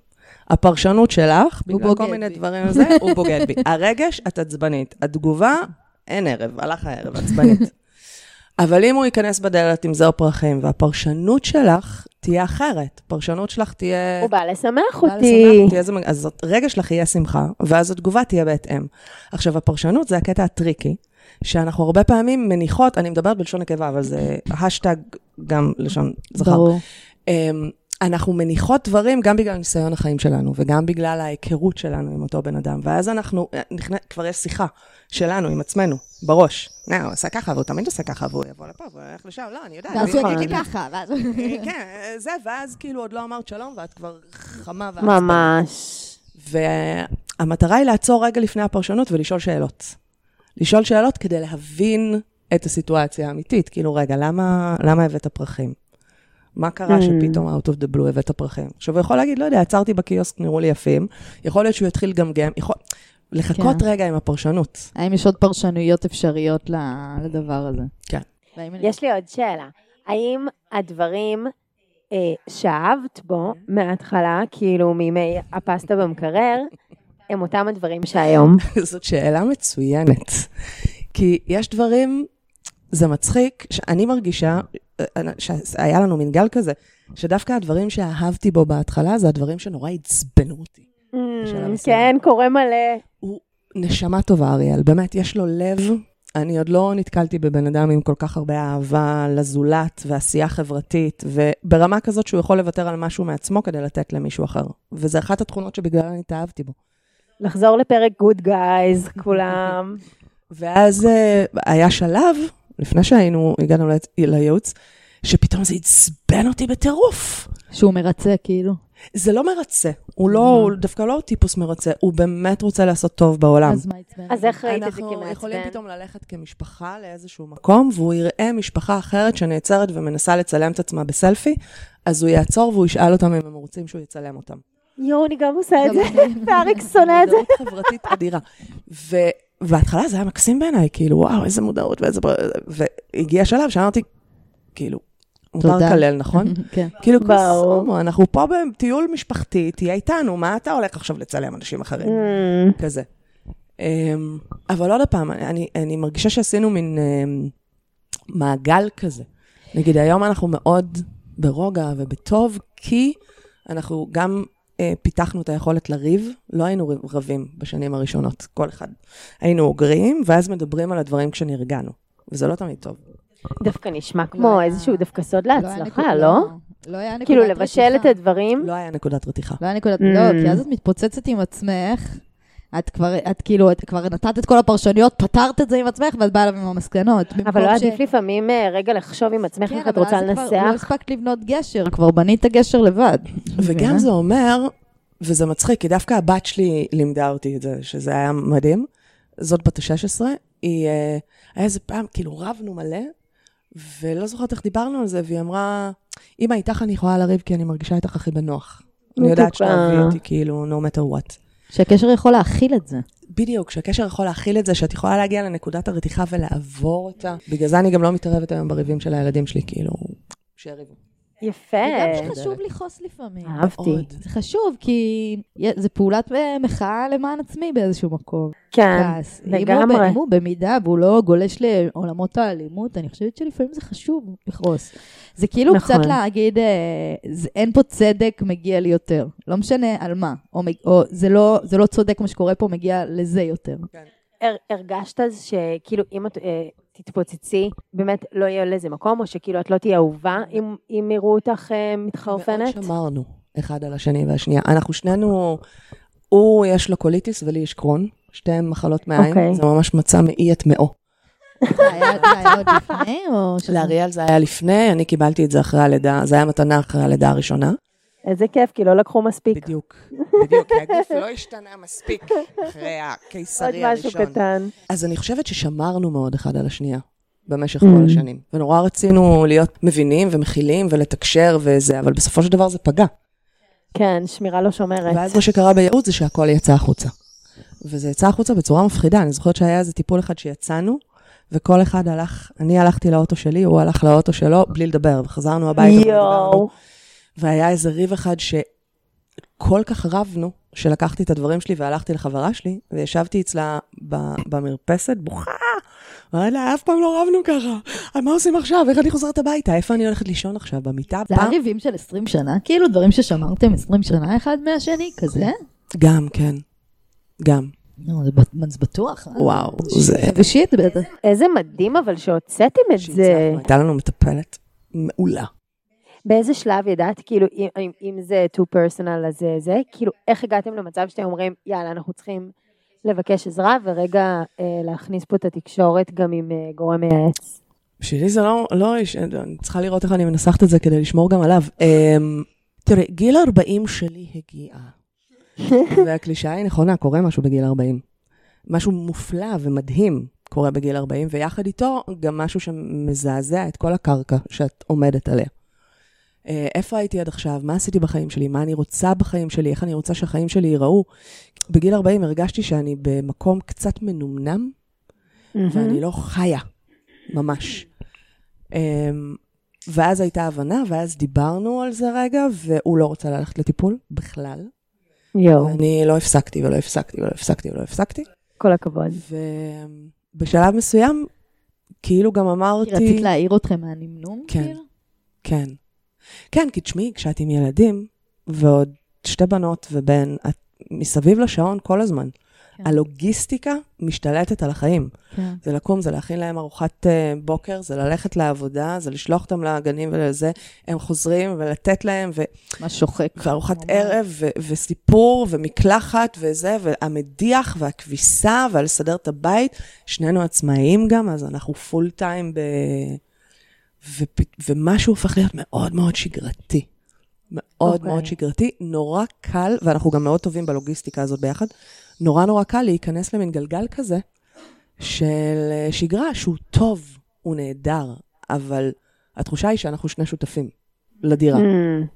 הפרשנות שלך, בגלל כל בוגד מיני בי. דברים וזה, הוא בוגד בי. הרגש, את עצבנית. התגובה, אין ערב, הלך הערב, עצבנית. אבל אם הוא ייכנס בדלת עם זר פרחים, והפרשנות שלך תהיה אחרת, הפרשנות שלך תהיה... הוא בא לשמח בא אותי. לשמח אותי, איזה מג- אז הרגע שלך יהיה שמחה, ואז התגובה תהיה בהתאם. עכשיו, הפרשנות זה הקטע הטריקי, שאנחנו הרבה פעמים מניחות, אני מדברת בלשון נקבה, אבל זה השטג גם לשון זכר. ברור. אמ, אנחנו מניחות דברים גם בגלל ניסיון החיים שלנו, וגם בגלל ההיכרות שלנו עם אותו בן אדם, ואז אנחנו, אה, נכנס, כבר יש שיחה שלנו עם עצמנו, בראש. "נה, הוא עשה ככה, והוא תמיד עושה ככה, והוא יבוא לפה, והוא ילך לשם, לא, אני יודעת. ואז אני- הוא יגיד אני- לי ככה, ואז... אה, כן, זה, ואז כאילו עוד לא אמרת שלום, ואת כבר חמה ואת... ממש. והמטרה היא לעצור רגע לפני הפרשנות ולשאול שאלות. לשאול שאלות כדי להבין את הסיטואציה האמיתית. כאילו, רגע, למה, למה הבאת פרחים? מה קרה שפתאום out of the blue הבאת פרחים? עכשיו, הוא יכול להגיד, לא יודע, עצרתי בקיוסק, נראו לי יפים. יכול להיות שהוא יתחיל לגמגם, יכול... לחכות כן. רגע עם הפרשנות. האם יש עוד פרשנויות אפשריות ל- לדבר הזה? כן. והאם אני- יש לי עוד שאלה. האם הדברים אה, שאהבת בו מההתחלה, כאילו מימי הפסטה במקרר, הם אותם הדברים שהיום? זאת שאלה מצוינת. כי יש דברים, זה מצחיק, שאני מרגישה, אה, שהיה לנו מין גל כזה, שדווקא הדברים שאהבתי בו בהתחלה, זה הדברים שנורא עצבנו אותי. בשלב מסוים. כן, קורה מלא. נשמה טובה, אריאל. באמת, יש לו לב. אני עוד לא נתקלתי בבן אדם עם כל כך הרבה אהבה לזולת ועשייה חברתית, וברמה כזאת שהוא יכול לוותר על משהו מעצמו כדי לתת למישהו אחר. וזו אחת התכונות שבגללן התאהבתי בו. לחזור לפרק גוד גייז, כולם. ואז אה, היה שלב, לפני שהיינו, הגענו לייעצ- לייעוץ, שפתאום זה עצבן אותי בטירוף. שהוא מרצה, כאילו. זה לא מרצה, הוא לא, הוא דווקא לא סטיפוס מרצה, הוא באמת רוצה לעשות טוב בעולם. אז מה עצבן? אז איך ראית את זה אנחנו יכולים כמעצבן? פתאום ללכת כמשפחה לאיזשהו מקום, והוא יראה משפחה אחרת שנעצרת ומנסה לצלם את עצמה בסלפי, אז הוא יעצור והוא ישאל אותם אם הם רוצים שהוא יצלם אותם. יואו, אני גם עושה את זה. גם אני. ואריק שונא את זה. מודעות חברתית אדירה. ו- בהתחלה זה היה מקסים בעיניי, כאילו, וואו, איזה מודעות ואיזה... פר- והגיע שלב שאמרתי, כאילו, מותר תודה. לקלל, נכון? כן. כאילו, ברור. כוסומו, אנחנו פה בטיול משפחתי, תהיה איתנו, מה אתה הולך עכשיו לצלם אנשים אחרים? Mm, כזה. אמ, אבל עוד פעם, אני, אני מרגישה שעשינו מין אמ, מעגל כזה. נגיד, היום אנחנו מאוד ברוגע ובטוב, כי אנחנו גם אה, פיתחנו את היכולת לריב, לא היינו ריב- רבים בשנים הראשונות, כל אחד. היינו אוגרים, ואז מדברים על הדברים כשנרגענו, וזה לא תמיד טוב. דווקא נשמע לא כמו היה- איזשהו דווקא סוד לא היה נקוד- להצלחה, לא? לא היה נקודת כאילו, לבשל את רתיחה. הדברים. לא היה נקודת רתיחה. לא היה נקודת... Mm. לא, כי אז את מתפוצצת עם עצמך. את כבר, את כאילו, את כבר נתת את כל הפרשנויות, פתרת את זה עם עצמך, ואת באה אליו עם המסקנות. אבל במקום לא ש- עדיף לפעמים אה, רגע לחשוב עם עצמך כן, איך את אבל רוצה אז כבר לא לנסח? הספקת לבנות גשר, כבר בנית גשר לבד. אה? וגם זה אומר, וזה מצחיק, כי דווקא הבת שלי לימדה אותי את זה, שזה היה מדהים. זאת בת ה-16, היא... אה, היה איזה פעם, כאילו, רבנו מלא, ולא זוכרת איך דיברנו על זה, והיא אמרה, אמא, איתך אני יכולה לריב כי אני מרגישה איתך הכי בנוח. אני יודעת מתוקה. שתאהבי אותי, כאילו, no matter what. שהקשר יכול להכיל את זה. בדיוק, שהקשר יכול להכיל את זה, שאת יכולה להגיע לנקודת הרתיחה ולעבור אותה. בגלל זה אני גם לא מתערבת היום בריבים של הילדים שלי, כאילו, שיריבו. יפה. וגם שחשוב לכעוס לפעמים. אהבתי. עוד. זה חשוב, כי יה- זה פעולת אה, מחאה למען עצמי באיזשהו מקום. כן, כעס. אם הוא- לגמרי. אם הוא במידה והוא לא גולש לעולמות האלימות, אני חושבת שלפעמים זה חשוב לכעוס. זה כאילו נכון. קצת להגיד, אה, זה- אין פה צדק, מגיע לי יותר. לא משנה על מה. או מג- או זה לא- זה לא צודק מה שקורה פה, מגיע לזה יותר. הר, הרגשת אז שכאילו אם את אה, תתפוצצי, באמת לא יהיה לזה מקום, או שכאילו את לא תהיה אהובה אם, אם יראו אותך אה, מתחרפנת? מאוד שמרנו אחד על השני והשנייה. אנחנו שנינו, הוא יש לו קוליטיס ולי יש קרון, שתיהן מחלות מעיים, אוקיי. זה ממש מצא מאי את מאו. זה היה זה היה עוד לפני, או... שזה- לאריאל זה היה לפני, אני קיבלתי את זה אחרי הלידה, זה היה מתנה אחרי הלידה הראשונה. איזה כיף, כי לא לקחו מספיק. בדיוק, בדיוק, כי הגוף לא השתנה מספיק אחרי עוד הקיסרי משהו הראשון. קטן. אז אני חושבת ששמרנו מאוד אחד על השנייה. במשך כל Mm. השנים. ונורא רצינו להיות מבינים ומכילים ולתקשר וזה, אבל בסופו של דבר זה פגע. כן, שמירה לא שומרת. ואז מה שקרה בייעוץ זה שהכל יצא החוצה. וזה יצא החוצה בצורה מפחידה. אני זוכרת שהיה איזה טיפול אחד שיצאנו, וכל אחד הלך, אני הלכתי לאוטו שלי, הוא הלך לאוטו שלו, בלי לדבר, וחזרנו הביתה ודיברנו. יואו. והיה איזה ריב אחד שכל כך רבנו, שלקחתי את הדברים שלי והלכתי לחברה שלי, וישבתי אצלה ב- במרפסת, בוכה. אמרתי לה, אף פעם לא רבנו ככה. "אה, מה עושים עכשיו? איך אני חוזרת הביתה? איפה אני הולכת לישון עכשיו? במיטה? זה היה פעם? ריבים של 20 שנה, כאילו דברים ששמרתם 20 שנה אחד מהשני, כזה? גם, כן. גם. נו, זה בט- זה בטוח. אה? וואו, זה... ושיט בטח. איזה מדהים אבל שהוצאתם את זה. שהצלחנו, הייתה לנו מטפלת מעולה. באיזה שלב ידעת, כאילו, אם- אם- אם זה too personal אז זה זה, כאילו, איך הגעתם למצב שאתם אומרים, יאללה, אנחנו צריכים לבקש עזרה, ורגע אה, להכניס פה את התקשורת גם עם אה, גורם מייעץ. בשבילי זה לא, לא, יש- אני צריכה לראות איך אני מנסחת את זה כדי לשמור גם עליו. אמ, תראה, גיל 40 שלי הגיע. והקלישאה היא נכונה, קורה משהו בגיל 40. משהו מופלא ומדהים קורה בגיל 40, ויחד איתו גם משהו שמזעזע את כל הקרקע שאת עומדת עליה. אה, איפה הייתי עד עכשיו? מה עשיתי בחיים שלי? מה אני רוצה בחיים שלי? איך אני רוצה שהחיים שלי ייראו? בגיל 40 הרגשתי שאני במקום קצת מנומנם, Mm-hmm. ואני לא חיה, ממש. אמ, ואז הייתה הבנה, ואז דיברנו על זה רגע, והוא לא רוצה ללכת לטיפול בכלל. יואו, אוקיי. אני לא הפסקתי ולא הפסקתי ולא הפסקתי ולא הפסקתי. כל הכבוד. ובשלב מסוים, כאילו גם כי רצית אמרתי... להעיר אתכם מהנמנום? כן. כאילו? כן. כן, כי תשמעי, כשאת עם ילדים, ועוד שתי בנות ובן, את מסביב לשעון כל הזמן. כן. הלוגיסטיקה משתלטת על החיים. כן. זה לקום, זה להכין להם ארוחת אה, בוקר, זה ללכת לעבודה, זה לשלוח אותם לגנים ולזה. הם חוזרים ולתת להם, ו- מה שוחק. וארוחת ממש. ערב, ו- וסיפור, ומקלחת, וזה, והמדיח, והכביסה, והלסדר את הבית. שנינו עצמאים גם, אז אנחנו פול טיים ב... ופ- ומשהו הופך להיות מאוד מאוד שגרתי. מאוד okay. אוקיי. מאוד שגרתי, נורא קל, ואנחנו גם מאוד טובים בלוגיסטיקה הזאת ביחד, נורא נורא קל להיכנס למין גלגל כזה של אה, שגרה שהוא טוב, הוא נהדר, אבל התחושה היא שאנחנו שני שותפים לדירה. Mm,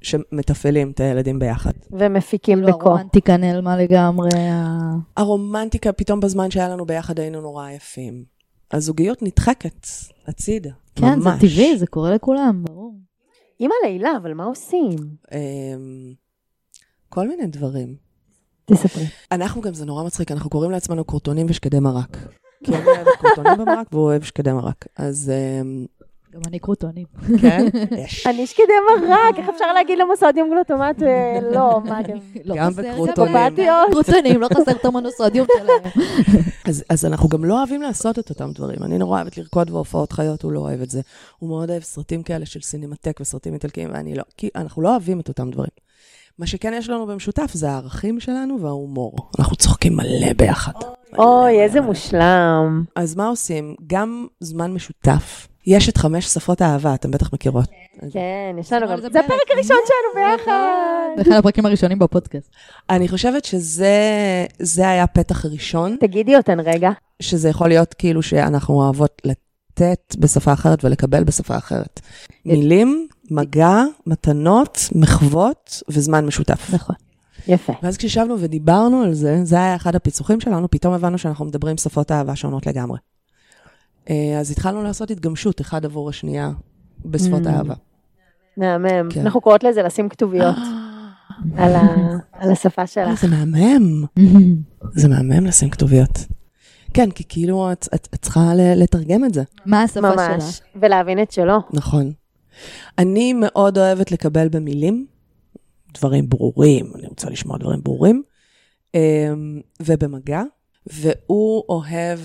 שמתפעלים את הילדים ביחד. ומפיקים כאילו דקו. הרומנטיקה נעלמה לגמרי. ה- הרומנטיקה, פתאום בזמן שהיה לנו ביחד היינו נורא יפים. הזוגיות נדחקת הצידה, כן, ממש. זה טבעי, זה קורה לכולם, ברור. אימא לעילה, אבל מה עושים? אמ, כל מיני דברים. תספרי. אנחנו גם, זה נורא מצחיק, אנחנו קוראים לעצמנו קורטונים ושקדי מרק. כי אני אוהבת קורטונים במרק והוא אוהב שקדי מרק. אז אמ, גם אני קרוטונים. כן, יש. אני שקדי מרק, איך אפשר להגיד למוסודיום גלוטומט? אה, לא, מה אתם... לא גם חסר בקרוטונים. אופטיות? קרוטונים, לא חסר את המונוסודיום שלהם. אז, אז אנחנו גם לא אוהבים לעשות את אותם דברים. אני נורא אוהבת לרקוד והופעות חיות, הוא לא אוהב את זה. הוא מאוד אוהב סרטים כאלה של סינמטק וסרטים איטלקיים, ואני לא... כי אנחנו לא אוהבים את אותם דברים. מה שכן יש לנו במשותף זה הערכים שלנו וההומור. אנחנו צוחקים מלא ביחד. אוי, איזה מושלם. אז מה עושים? גם זמן משותף. יש את חמש שפות האהבה, אתם בטח מכירות. כן, יש לנו גם... אבל זה זה פרק. הפרק הראשון שלנו ביחד. זה אחד הפרקים הראשונים בפודקאסט. אני חושבת שזה זה היה פתח ראשון, תגידי אותן רגע. שזה יכול להיות כאילו שאנחנו אוהבות לתת בשפה אחרת ולקבל בשפה אחרת. מילים, מגע, מתנות, מחוות וזמן משותף. נכון. יפה. ואז כשישבנו ודיברנו על זה, זה היה אחד הפיצוחים שלנו, פתאום הבנו שאנחנו מדברים שפות אהבה שונות לגמרי. אה, אז התחלנו לעשות התגמשות אחד עבור השנייה בשפות אהבה. מהמם. כן. אנחנו קוראות לזה לשים כתוביות על ה- על השפה אה, שלך. זה מהמם. זה מהמם לשים כתוביות. כן, כי כאילו את, את, את צריכה ל- לתרגם את זה. מה השפה שלך? ממש. ולהבין את שלו. נכון. אני מאוד אוהבת לקבל במילים, דברים ברורים, אני רוצה לשמוע דברים ברורים, אמ, ובמגע, והוא אוהב,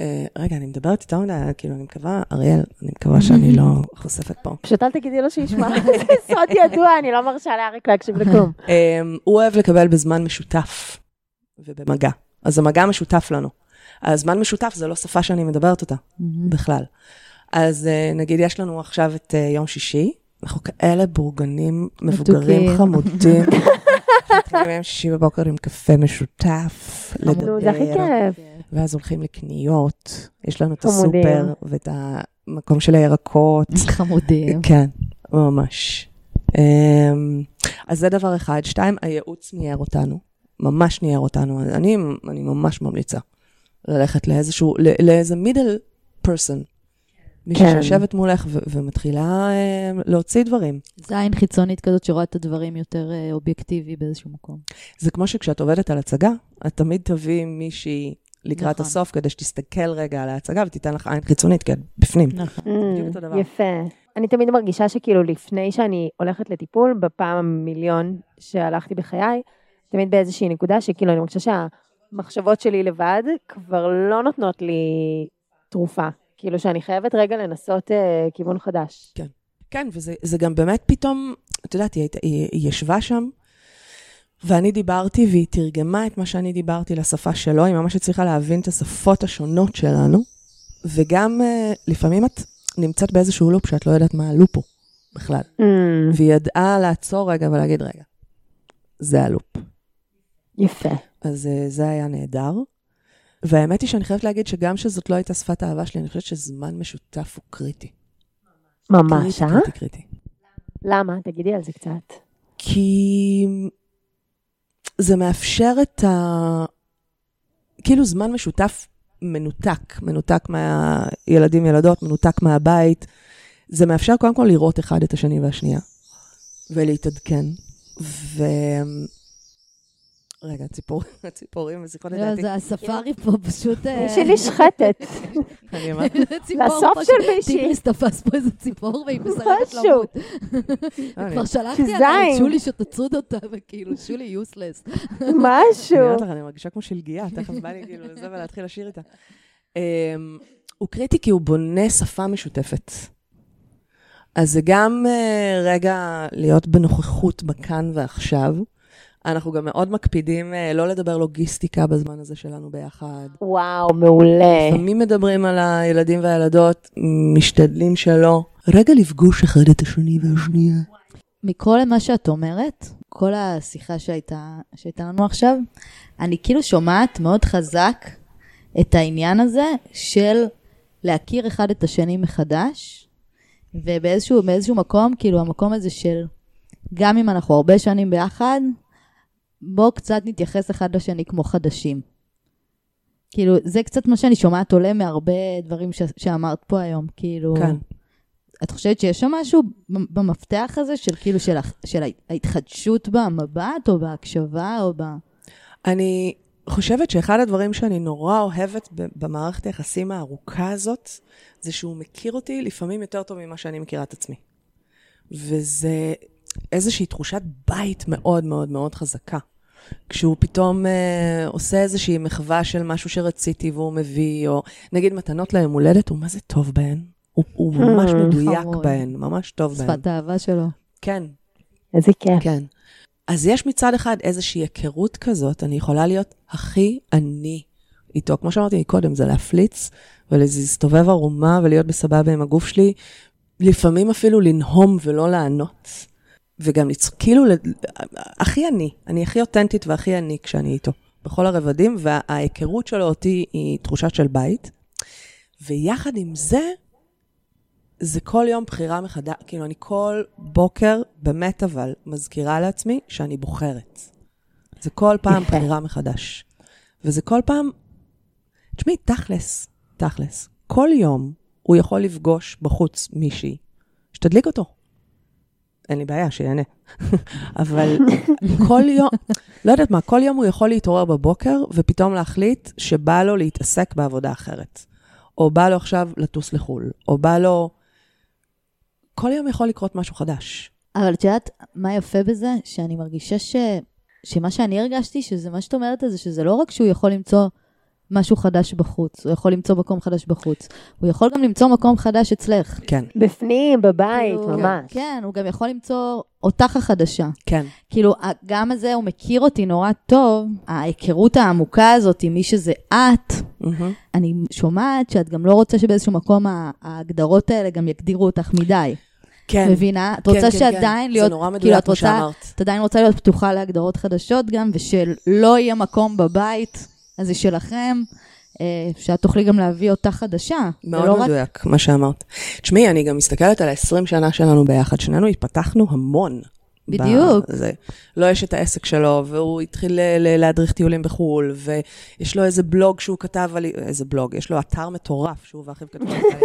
אה, רגע, אני מדברת איתו, כאילו, אני מקווה, אריאל, אני מקווה שאני לא חושפת פה. פשוט אל תגידי לו שישמע. זה סוד ידוע, אני לא מרשה לאריק להקשיב לכלום. אמ, הוא אוהב לקבל בזמן משותף ובמגע. אז המגע משותף לנו. הזמן משותף זה לא שפה שאני מדברת אותה בכלל. אז אה, נגיד, יש לנו עכשיו את אה, יום שישי, אנחנו כאלה בורגנים, מבוגרים, מתוקים. חמודים. מתחילים ביום שישי בבוקר עם קפה משותף, חמוד. נו, זה הכי לדבר, כיף. ואז הולכים לקניות, יש לנו את חמודים. הסופר ואת ה... המקום של הירקות. חמודים. כן, ממש. אמ, אז זה דבר אחד. שתיים, הייעוץ ניער אותנו. ממש ניער אותנו. אני, אני ממש ממליצה ללכת לאיזשהו, לא- לאיזה מידל פרסון. מישהי כן. שיושבת מולך ו- ומתחילה אמ, להוציא דברים. זה עין חיצונית כזאת שרואה את הדברים יותר אה, אובייקטיבי באיזשהו מקום. זה כמו שכשאת עובדת על הצגה, את תמיד תביאי מישהי לקראת נכון. הסוף, כדי שתסתכל רגע על ההצגה ותיתן לך עין חיצונית, כי את בפנים. נכון. בדיוק אותו דבר. Mm, יפה. אני תמיד מרגישה שכאילו לפני שאני הולכת לטיפול, בפעם המיליון שהלכתי בחיי, תמיד באיזושהי נקודה שכאילו אני מרגישה שהמחשבות שלי לבד כבר לא נותנות לי תרופה. כאילו שאני חייבת רגע לנסות אה, כיוון חדש. כן, וזה זה גם באמת פתאום, את יודעת, היא, הייתה- היא, היא ישבה שם, ואני דיברתי, והיא תרגמה את מה שאני דיברתי לשפה שלו, היא ממש הצליחה להבין את השפות השונות שלנו, וגם אה, לפעמים את נמצאת באיזשהו לופ שאת לא יודעת מה הלופ הוא בכלל, Mm. והיא ידעה לעצור רגע ולהגיד, רגע, זה הלופ. יפה. אז אה, זה היה נהדר. והאמת היא שאני חייבת להגיד שגם שזאת לא הייתה שפת האהבה שלי, אני חושבת שזמן משותף הוא קריטי. ממש, קריטי, אה? קריטי, קריטי. למה? תגידי על זה קצת. כי זה מאפשר את ה... כאילו זמן משותף מנותק, מנותק מהילדים, ילדות, מנותק מהבית. זה מאפשר קודם כל לראות אחד את השני והשנייה, ולהתעדכן. ו... רגע, הציפור... הציפורים מזיכרון את לא, דעתי. זה הספארי פה פשוט... אה, מישהי נשחטת, אני אמרתי. איזה ציפור לסוף פה של ש- מישהי. טיגריס תפס פה איזה ציפור והיא מסרבת משהו. למות. לא, אני- כבר שלחתי עליה את שזיים. שולי שתצוד אותה, וכאילו, שולי יוסלס. אני משהו. אומרת לך, אני מרגישה כמו שלגיה, תכף בא לי כאילו לזה ולהתחיל לשיר איתה. אמ, הוא קריטי כי הוא בונה שפה משותפת. אז זה גם אה, רגע להיות בנוכחות בכאן ועכשיו. אנחנו גם מאוד מקפידים אה, לא לדבר לוגיסטיקה בזמן הזה שלנו ביחד. וואו, אה. מעולה. לפעמים מדברים על הילדים והילדות, משתדלים שלא. רגע לפגוש אחד את השני והשנייה. מכל מה שאת אומרת, כל השיחה שהייתה, שהייתה לנו עכשיו, אני כאילו שומעת מאוד חזק את העניין הזה של להכיר אחד את השני מחדש, ובאיזשהו באיזשהו מקום, כאילו המקום הזה של, גם אם אנחנו הרבה שנים ביחד, בואו קצת נתייחס אחד לשני כמו חדשים. כאילו, זה קצת מה שאני שומעת עולה מהרבה דברים ש- שאמרת פה היום, כאילו... כן. את חושבת שיש שם משהו במ- במפתח הזה של כאילו של, הח- של ההת- ההתחדשות במבט או בהקשבה או ב... אני חושבת שאחד הדברים שאני נורא אוהבת ב- במערכת היחסים הארוכה הזאת, זה שהוא מכיר אותי לפעמים יותר טוב ממה שאני מכירה את עצמי. וזה איזושהי תחושת בית מאוד מאוד מאוד חזקה. כשהוא פתאום אה, עושה איזושהי מחווה של משהו שרציתי והוא מביא, או נגיד מתנות ליום הולדת, הוא מה זה טוב בהן? הוא, הוא ממש מדויק Mm, חמוד. בהן, ממש טוב בהן. שפת האהבה שלו. כן, איזה כיף. כן. אז יש מצד אחד איזושהי היכרות כזאת, אני יכולה להיות הכי אני איתו. כמו שאמרתי קודם, זה להפליץ ולהסתובב ערומה ולהיות בסבבה עם הגוף שלי, לפעמים אפילו לנהום ולא לענות, וגם לצ... כאילו, ל- הכי אני, אני הכי אותנטית והכי אני כשאני איתו, בכל הרבדים, וההיכרות שלו אותי היא תחושה של בית. ויחד עם זה, זה כל יום בחירה מחדש, כאילו, אני כל בוקר, באמת אבל, מזכירה לעצמי שאני בוחרת. זה כל פעם יפה. בחירה מחדש. וזה כל פעם, תשמעי, תכלס, תכלס, כל יום הוא יכול לפגוש בחוץ מישהי שתדליק אותו. אין לי בעיה, שיהנה. אבל כל יום, לא יודעת מה, כל יום הוא יכול להתעורר בבוקר ופתאום להחליט שבא לו להתעסק בעבודה אחרת. או בא לו עכשיו לטוס לחו"ל, או בא לו... כל יום יכול לקרות משהו חדש. אבל את יודעת מה יפה בזה? שאני מרגישה ש... שמה שאני הרגשתי, שזה מה שאת אומרת על זה, שזה לא רק שהוא יכול למצוא משהו חדש בחוץ, הוא יכול למצוא מקום חדש בחוץ, הוא יכול גם למצוא מקום חדש אצלך. כן, בפנים, בבית, כאילו, ממש. כן, הוא גם יכול למצוא אותך החדשה. כן. כאילו, גם הזה, הוא מכיר אותי נורא טוב, ההיכרות העמוקה הזאת עם מי שזה את, מהמם. אני שומעת שאת גם לא רוצה שבאיזשהו מקום ה- ההגדרות האלה גם יגדירו אותך מדי. כן. מבינה? את כן, רוצה כן, שעדיין כן. להיות, זה נורא כאילו, מדויק את מה רוצה, שאמרת. את עדיין רוצה להיות פתוחה להגדרות חדשות גם, ושלא יהיה מקום בבית הזה שלכם, אה, שאת תוכלי גם להביא אותה חדשה. זה מאוד לא רק- מדויק, מה שאמרת. תשמעי, אני גם מסתכלת על ה-20 שנה שלנו ביחד. שנינו התפתחנו המון. ב- בדיוק. זה. לא יש את העסק שלו, והוא התחיל ל- ל- להדריך טיולים בחו"ל, ויש לו איזה בלוג שהוא כתב על... איזה בלוג? יש לו אתר מטורף שהוא ואחיו כתבו עליו.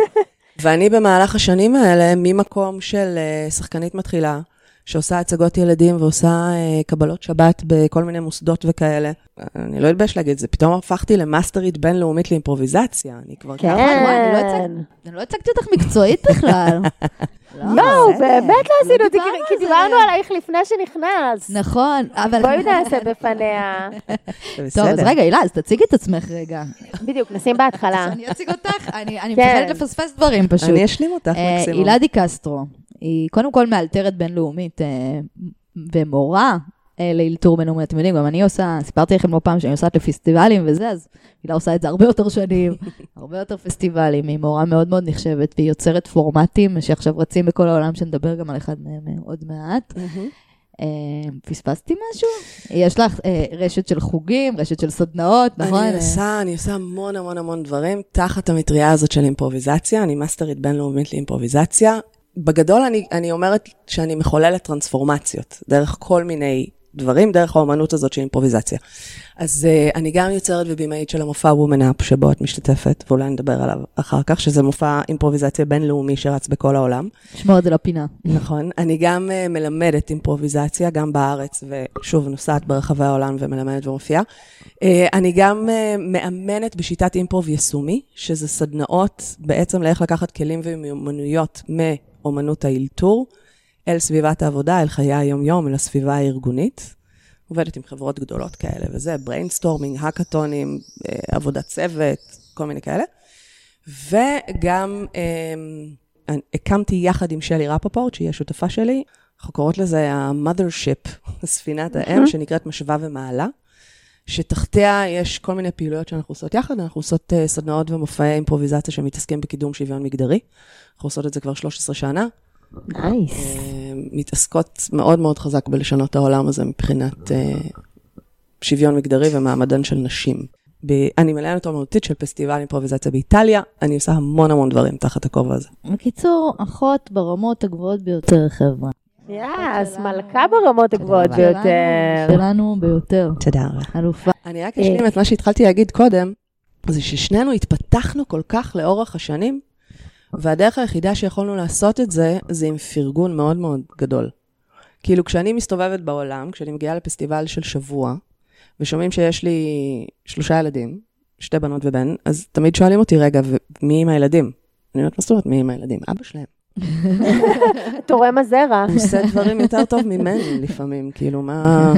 ואני במהלך השנים האלה, ממקום של אה, שחקנית מתחילה, שעושה הצגות ילדים ועושה אה, קבלות שבת בכל מיני מוסדות וכאלה. אני לא אתבייש להגיד את זה, פתאום הפכתי למאסטרית בינלאומית לאימפרוביזציה. אני כבר כן. וואי, אני לא אני לא הצגתי אותך מקצועית בכלל. לא, בסדר. באמת לא עשינו את זה, אה, דיברנו כי- כי על זה. דיברנו עלייך לפני שנכנסת. נכון, אבל... בואי נעשה בפניה. זה טוב, בסדר. אה. אז רגע, הילה, אז תציגי את עצמך רגע. בדיוק, נשים בהתחלה. אני אציג אותך, אני אני כן. מפחדת לפספס דברים פשוט. אני אשלים אותך, אה, מקסימום. הילה די קסטרו, היא קודם כל מאלתרת בינלאומית אה, ומורה אה, לאלתור בינלאומי. אתם יודעים, גם אני עושה, סיפרתי לכם לא פעם שאני עושה לפסטיבלים וזה, אז הילה עושה את זה הרבה יותר שנים, הרבה יותר פסטיבלים. היא מורה מאוד מאוד נחשבת, והיא יוצרת פורמטים שעכשיו רצים בכל העולם, שנדבר גם על אחד מהם אה, עוד מעט. מהמם. אה, פספסתי משהו? יש לך אה, רשת של חוגים, רשת של סדנאות, נכון? אני אה, עושה, אני עושה המון המון המון דברים תחת המטריה הזאת של אימפרוביזציה, אני מאסטרית בינלאומית לאימפרוביזציה. בגדול אני, אני אומרת שאני מחוללת טרנספורמציות, דרך כל מיני דברים, דרך האומנות הזאת של אימפרוביזציה. אז uh, אני גם יוצרת ובימאית של המופע Woman Up, שבו את משתתפת, ואולי נדבר עליו אחר כך, שזה מופע אימפרוביזציה בינלאומי שרץ בכל העולם. שמור את זה לפינה. נכון. אני גם אה, מלמדת אימפרוביזציה, גם בארץ, ושוב, נוסעת ברחבי העולם ומלמדת ומופיעה. אה, אני גם אה, מאמנת בשיטת אימפרוב יישומי, שזה סדנאות בעצם לאיך לקחת כלים ומיומנויות מאומנות האלתור אל סביבת העבודה, אל חיי היום-יום, אל הסביבה הארגונית. עובדת עם חברות גדולות כאלה וזה, בריינסטורמינג, האקתונים, אה, עבודת צוות, כל מיני כאלה. וגם אה, הקמתי יחד עם שלי רפפורט, שהיא השותפה שלי, אנחנו קוראות לזה ה-mothership, ספינת האם, שנקראת משווה ומעלה, שתחתיה יש כל מיני פעילויות שאנחנו עושות יחד, אנחנו עושות אה, סדנאות ומופעי אימפרוביזציה שמתעסקים בקידום שוויון מגדרי. אנחנו עושות את זה כבר 13 שנה. נייס. אה, מתעסקות מאוד מאוד חזק בלשנות העולם הזה מבחינת אה, שוויון מגדרי ומעמדן של נשים. ב- אני מליינת אומנותית של פסטיבל אימפרוביזציה באיטליה, אני עושה המון המון דברים תחת הכובע הזה. בקיצור, אחות ברמות הגבוהות ביותר, חבר'ה. יאס, מלכה ברמות הגבוהות שלנו- ביותר. שלנו ביותר. תודה רבה. אלופה. אני רק אשלים את מה שהתחלתי להגיד קודם, זה ששנינו התפתחנו כל כך לאורך השנים, והדרך היחידה שיכולנו לעשות את זה, זה עם פרגון מאוד מאוד גדול. כאילו, כשאני מסתובבת בעולם, כשאני מגיעה לפסטיבל של שבוע, ושומעים שיש לי שלושה ילדים, שתי בנות ובן, אז תמיד שואלים אותי, רגע, ומי עם הילדים? אני אומרת, מה זאת אומרת מי עם הילדים? אבא שלהם. תורם הזרע. הוא עושה דברים יותר טוב ממני לפעמים, כאילו, מה...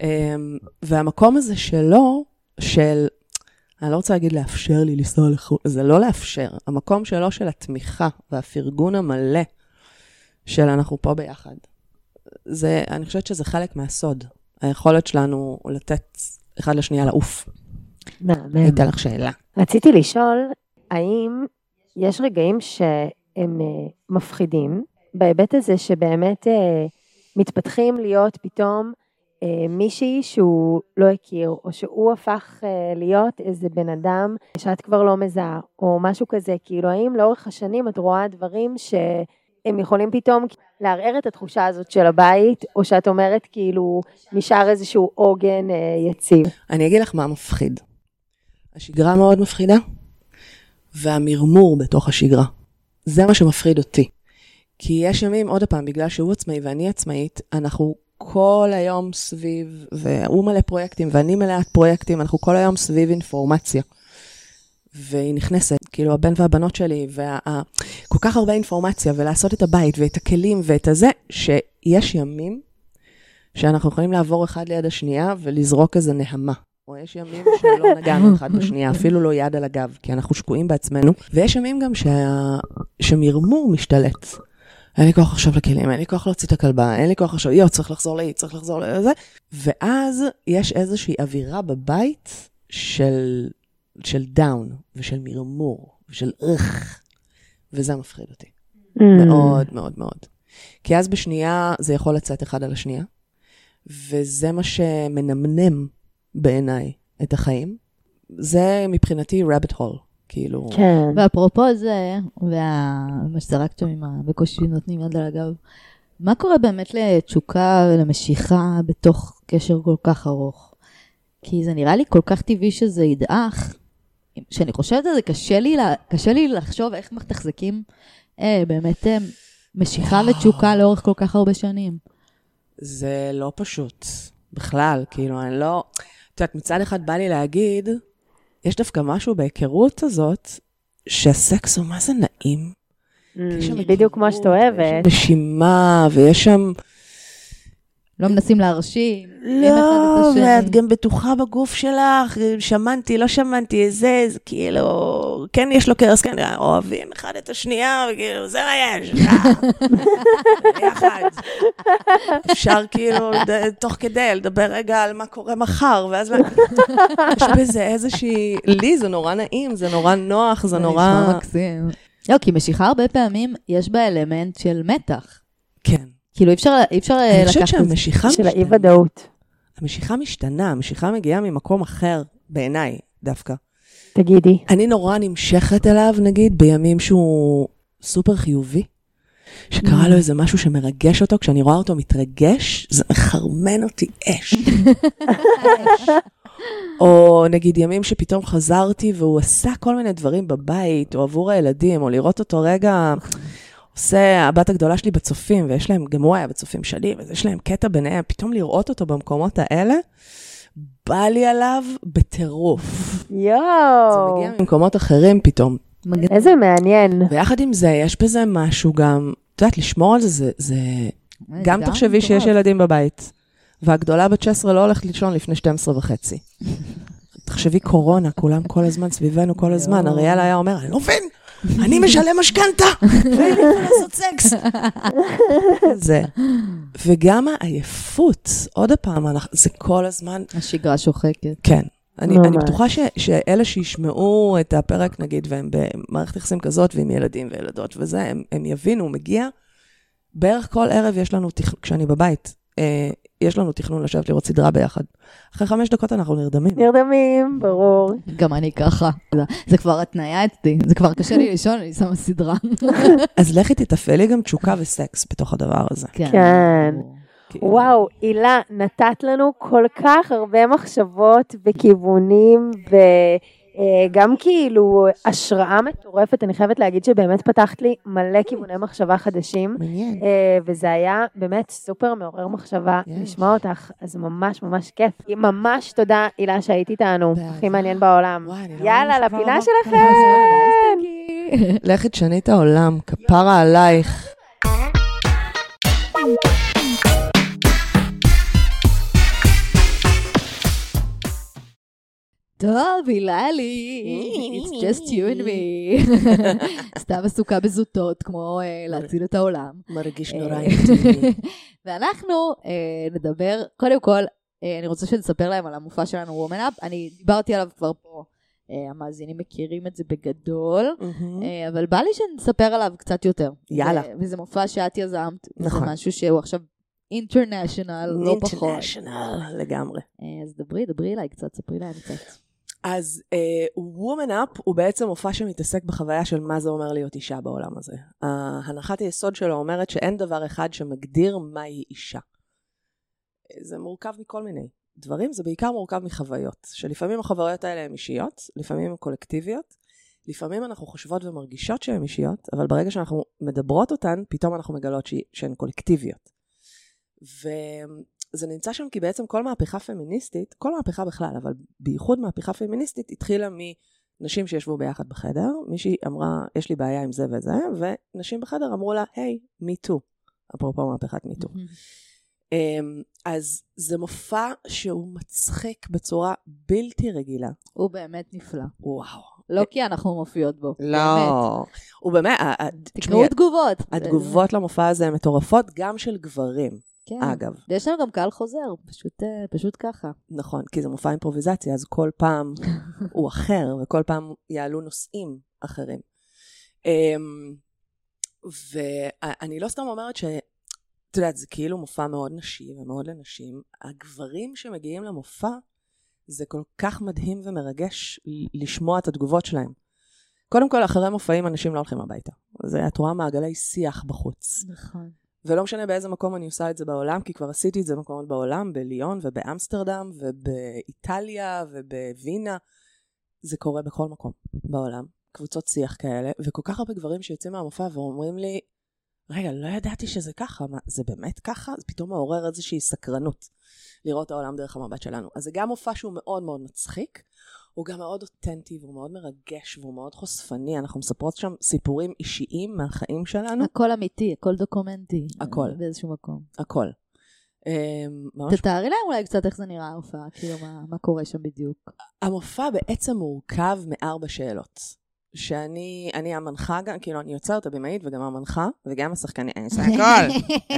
אמ, והמקום הזה שלו, של... אני לא רוצה להגיד לאפשר לי לנסוע לחו"ל, זה לא לאפשר. המקום שלו של התמיכה והפרגון המלא של אנחנו פה ביחד. זה, אני חושבת שזה חלק מהסוד. היכולת שלנו לתת אחד לשנייה לעוף. אני מהמם. אתן לך שאלה. רציתי לשאול, האם יש רגעים שהם אה, מפחידים, בהיבט הזה שבאמת אה, מתפתחים להיות פתאום אה, מישהי שהוא לא הכיר, או שהוא הפך אה, להיות איזה בן אדם שאת כבר לא מזהה, או משהו כזה, כאילו האם לאורך השנים את רואה דברים שהם יכולים פתאום לערער את התחושה הזאת של הבית, או שאת אומרת כאילו נשאר איזשהו עוגן אה, יציב. אני אגיד לך מה מפחיד. השגרה מאוד מפחידה, והמרמור בתוך השגרה. זה מה שמפחיד אותי. כי יש ימים, עוד פעם, בגלל שהוא עצמאי ואני עצמאית, אנחנו כל היום סביב, והוא מלא פרויקטים ואני מלאת פרויקטים, אנחנו כל היום סביב אינפורמציה. והיא נכנסת, כאילו הבן והבנות שלי, וכל כך הרבה אינפורמציה, ולעשות את הבית, ואת הכלים, ואת הזה, שיש ימים שאנחנו יכולים לעבור אחד ליד השנייה ולזרוק איזה נהמה. או יש ימים שלא נגענו אחד בשנייה, אפילו לא יד על הגב, כי אנחנו שקועים בעצמנו. ויש ימים גם שה... שמרמור משתלט. אין לי כוח עכשיו לכלים, אין לי כוח להוציא את הכלבה, אין לי כוח עכשיו, יואו, צריך לחזור לאי, צריך לחזור לזה. ואז יש איזושהי אווירה בבית של, של דאון ושל מרמור ושל איך, וזה מפחיד אותי. Mm. מאוד מאוד מאוד. כי אז בשנייה זה יכול לצאת אחד על השנייה, וזה מה שמנמנם בעיניי את החיים. זה מבחינתי rabbit hole, כאילו. כן. ואפרופו זה, וה- מה שזרקתם עם ה... בקושי נותנים יד על הגב, מה קורה באמת לתשוקה ולמשיכה בתוך קשר כל כך ארוך? כי זה נראה לי כל כך טבעי שזה ידעך, שאני חושבת על זה, קשה לי, לה- קשה לי לחשוב איך מתחזקים אה, באמת אה, משיכה ותשוקה לאורך כל כך הרבה שנים. זה לא פשוט בכלל, כאילו, אני לא... את יודעת, מצד אחד בא לי להגיד, יש דווקא משהו בהיכרות הזאת, שהסקס הוא מה זה נעים. יש שם Mm, בדיוק כמו שאת אוהבת. נשימה, ויש שם... לא מנסים להרשים. אין אחד את לא, השני. ואת גם בטוחה בגוף שלך, שמנתי, לא שמנתי, זה, זה כאילו, כן יש לו קרס, כן, אוהבים אחד את השנייה, וכאילו, זה מה יש, אה, ביחד. אפשר כאילו, ד- תוך כדי, לדבר רגע על מה קורה מחר, ואז מה- יש בזה איזושהי, לי זה נורא נעים, זה נורא נוח, זה נורא... נשמע מקסים. לא, כי משיכה הרבה פעמים יש בה אלמנט של מתח. כן. כאילו אי אפשר, אי אפשר אה, אני לקחת חושבת את זה. שהמשיכה של משתנה. האי-ודאות. המשיכה משתנה, המשיכה מגיעה ממקום אחר, בעיניי, דווקא. תגידי. אני נורא נמשכת אליו, נגיד, בימים שהוא סופר חיובי, שקרה לו איזה משהו שמרגש אותו, כשאני רואה אותו מתרגש, זה מחרמן אותי אש. אש. או נגיד ימים שפתאום חזרתי והוא עשה כל מיני דברים בבית, או עבור הילדים, או לראות אותו רגע... עושה, הבת הגדולה שלי בצופים, ויש להם, גם הוא היה בצופים שלי, אז יש להם קטע ביניהם, פתאום לראות אותו במקומות האלה, בא לי עליו בטירוף. זה יואו. מגיע ממקומות אחרים פתאום. איזה מעניין. ויחד עם זה, יש בזה משהו גם, את יודעת, לשמור על זה, זה, זה... אה, גם זה תחשבי שיש מטורף. ילדים בבית, והגדולה בת 16 לא הולכת לישון לפני 12 וחצי. תחשבי קורונה, כולם כל הזמן סביבנו, כל הזמן. אריאל היה אומר, אני לא מבין, אני משלם משכנתה, ואין לי מה לעשות סקס. זה. וגם העייפות, עוד פעם, אנחנו- זה כל הזמן השגרה שוחקת. כן. אני, ממש. אני בטוחה ש, שאלה שישמעו את הפרק, נגיד, והם במערכת יחסים כזאת, ועם ילדים וילדות וזה, הם, הם יבינו, מגיע. בערך כל ערב יש לנו, תכ... כשאני בבית, אה, יש לנו תכנון לשבת לראות סדרה ביחד. אחרי חמש דקות אנחנו נרדמים. נרדמים, ברור. גם אני ככה. זה- זה כבר התניה אצלי, זה כבר קשה לי לישון, אני שמה סדרה. אז לכי תתפעלי גם תשוקה וסקס בתוך הדבר הזה. כן. ברור. כאילו. וואו, הילה, נתת לנו כל כך הרבה מחשבות וכיוונים, וגם כאילו השראה מטורפת. אני חייבת להגיד שבאמת פתחת לי מלא כיווני מחשבה חדשים, מעניין. אה, וזה היה באמת סופר מעורר מחשבה כן. יש. לשמוע אותך, אז ממש ממש כיף. ממש תודה, הילה, שהיית איתנו, באהבה. הכי מעניין בעולם. וואי, אני לא יאללה, מאמינה שכבר לפינה אמרת שלכם! לכי תשני את העולם, כפרה עלייך. טוב, היללי, it's just you and me. סתם עסוקה בזוטות, כמו אה, להציל את העולם. אה, מרגיש נורא נורא אינטימי. אה, ואנחנו אה, נדבר, קודם כל, אה, אני רוצה שנספר להם על המופע שלנו, Woman Up. אני דיברתי עליו כבר פה, אה, המאזינים מכירים את זה בגדול, אה, אבל בא לי שנספר עליו קצת יותר. יאללה. ו- וזה מופע שאת יזמת, נכון. וזה משהו שהוא עכשיו אינטרנשיונל, לא פחות. אינטרנשיונל לגמרי. אה, אז דברי, דברי אליי קצת, ספרי להם קצת. אז uh, Woman Up הוא בעצם מופע שמתעסק בחוויה של מה זה אומר להיות אישה בעולם הזה. הנחת היסוד שלו אומרת שאין דבר אחד שמגדיר מהי אישה. זה מורכב מכל מיני דברים, זה בעיקר מורכב מחוויות, שלפעמים החוויות האלה הן אישיות, לפעמים הן קולקטיביות, לפעמים אנחנו חושבות ומרגישות שהן אישיות, אבל ברגע שאנחנו מדברות אותן, פתאום אנחנו מגלות שהיא- שהן קולקטיביות. וזה נמצא שם כי בעצם כל מהפכה פמיניסטית, כל מהפכה בכלל, אבל בייחוד מהפכה פמיניסטית, התחילה מנשים שישבו ביחד בחדר, מישהי אמרה, יש לי בעיה עם זה וזה, ונשים בחדר אמרו לה, היי, מי טו, אפרופו מהפכת מי טו. אמ, אז זה מופע שהוא מצחיק בצורה בלתי רגילה. הוא באמת נפלא. וואו. לא כי אנחנו מופיעות בו. באמת. לא. הוא באמת, ה- ה- תקראו תשמעי, תגובות. התגובות למופע הזה הן מטורפות, גם של גברים, כן. אגב. ויש לנו גם קהל חוזר, פשוט, אה, פשוט ככה. נכון, כי זה מופע אימפרוביזציה, אז כל פעם הוא אחר, וכל פעם יעלו נושאים אחרים. אמ, ואני לא סתם אומרת ש... את יודעת, זה כאילו מופע מאוד נשי ומאוד לנשים. הגברים שמגיעים למופע, זה כל כך מדהים ומרגש ל- לשמוע את התגובות שלהם. קודם כל, אחרי מופעים אנשים לא הולכים הביתה. זה, את רואה מעגלי שיח בחוץ. נכון. ולא משנה באיזה מקום אני עושה את זה בעולם, כי כבר עשיתי את זה במקומות בעולם, בליון ובאמסטרדם ובאיטליה ובווינה. זה קורה בכל מקום בעולם, קבוצות שיח כאלה, וכל כך הרבה גברים שיוצאים מהמופע ואומרים לי, רגע, לא ידעתי שזה ככה, מה, זה באמת ככה? זה פתאום מעורר איזושהי סקרנות לראות את העולם דרך המבט שלנו. אז זה גם מופע שהוא מאוד מאוד מצחיק, הוא גם מאוד אותנטי והוא מאוד מרגש והוא מאוד חושפני, אנחנו מספרות שם סיפורים אישיים מהחיים שלנו, הכל אמיתי, הכל דוקומנטי. הכל. באיזשהו מקום. הכל. אמ, ממש תתארי להם אולי קצת איך זה נראה ההופעה, כאילו מה- מה קורה שם בדיוק. המופע בעצם מורכב מארבע שאלות. שאני אני המנחה גם, כאילו, אני יוצרת הבמאית וגם המנחה, וגם השחקנית, אני עושה הכל,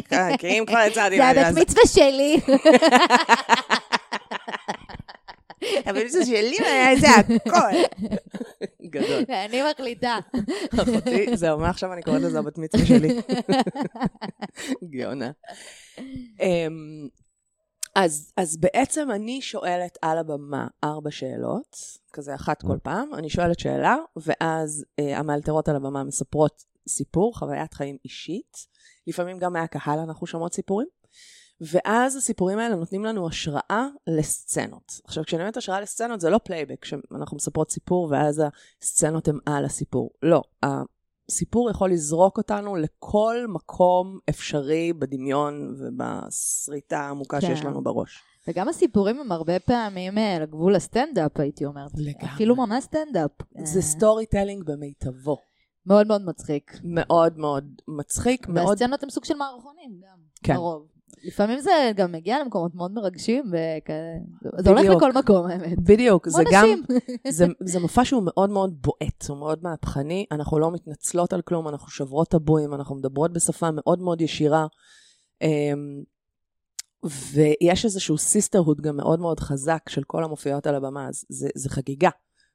הכל, כי אם כבר יצאתי, זה הבת מצווה שלי. אבל זה שלי, אני עושה הכל. גדול. אני מחליטה. אחותי, זהו, מעכשיו אני קוראת לזה הבת מצווה שלי. גאונה. אמ, אז, אז בעצם אני שואלת על הבמה ארבע שאלות, כזה אחת כל פעם, אני שואלת שאלה, ואז אה, המאלתרות על הבמה מספרות סיפור, חוויית חיים אישית, לפעמים גם מהקהל אנחנו שומעות סיפורים, ואז הסיפורים האלה נותנים לנו השראה לסצנות. עכשיו, כשאני אומרת השראה לסצנות, זה לא פלייבק, שאנחנו מספרות סיפור ואז הסצנות הן על הסיפור. לא, הסיפור יכול לזרוק אותנו לכל מקום אפשרי בדמיון ובסריטה העמוקה כן. שיש לנו בראש. וגם הסיפורים הם הרבה פעמים אה, על גבול הסטנדאפ, הייתי אומרת. לגמרי. אפילו ממש סטנדאפ. זה אה, סטורי טלינג במיטבו. מאוד מאוד מצחיק. מאוד מאוד מצחיק, מאוד... והסצנות הן סוג של מערכונים גם, כן. לרוב. לפעמים זה גם מגיע למקומות מאוד מרגשים, וכאלה. זה הולך בדיוק. לכל מקום, האמת. בדיוק, כמו זה גם... נשים. זה, זה מופע שהוא מאוד מאוד בועט, הוא מאוד מהפכני, אנחנו לא מתנצלות על כלום, אנחנו שוברות טבואים, אנחנו מדברות בשפה מאוד מאוד ישירה. אמ, ויש איזשהו סיסטרהוד גם מאוד מאוד חזק של כל המופיעות על הבמה, אז זה, זה חגיגה,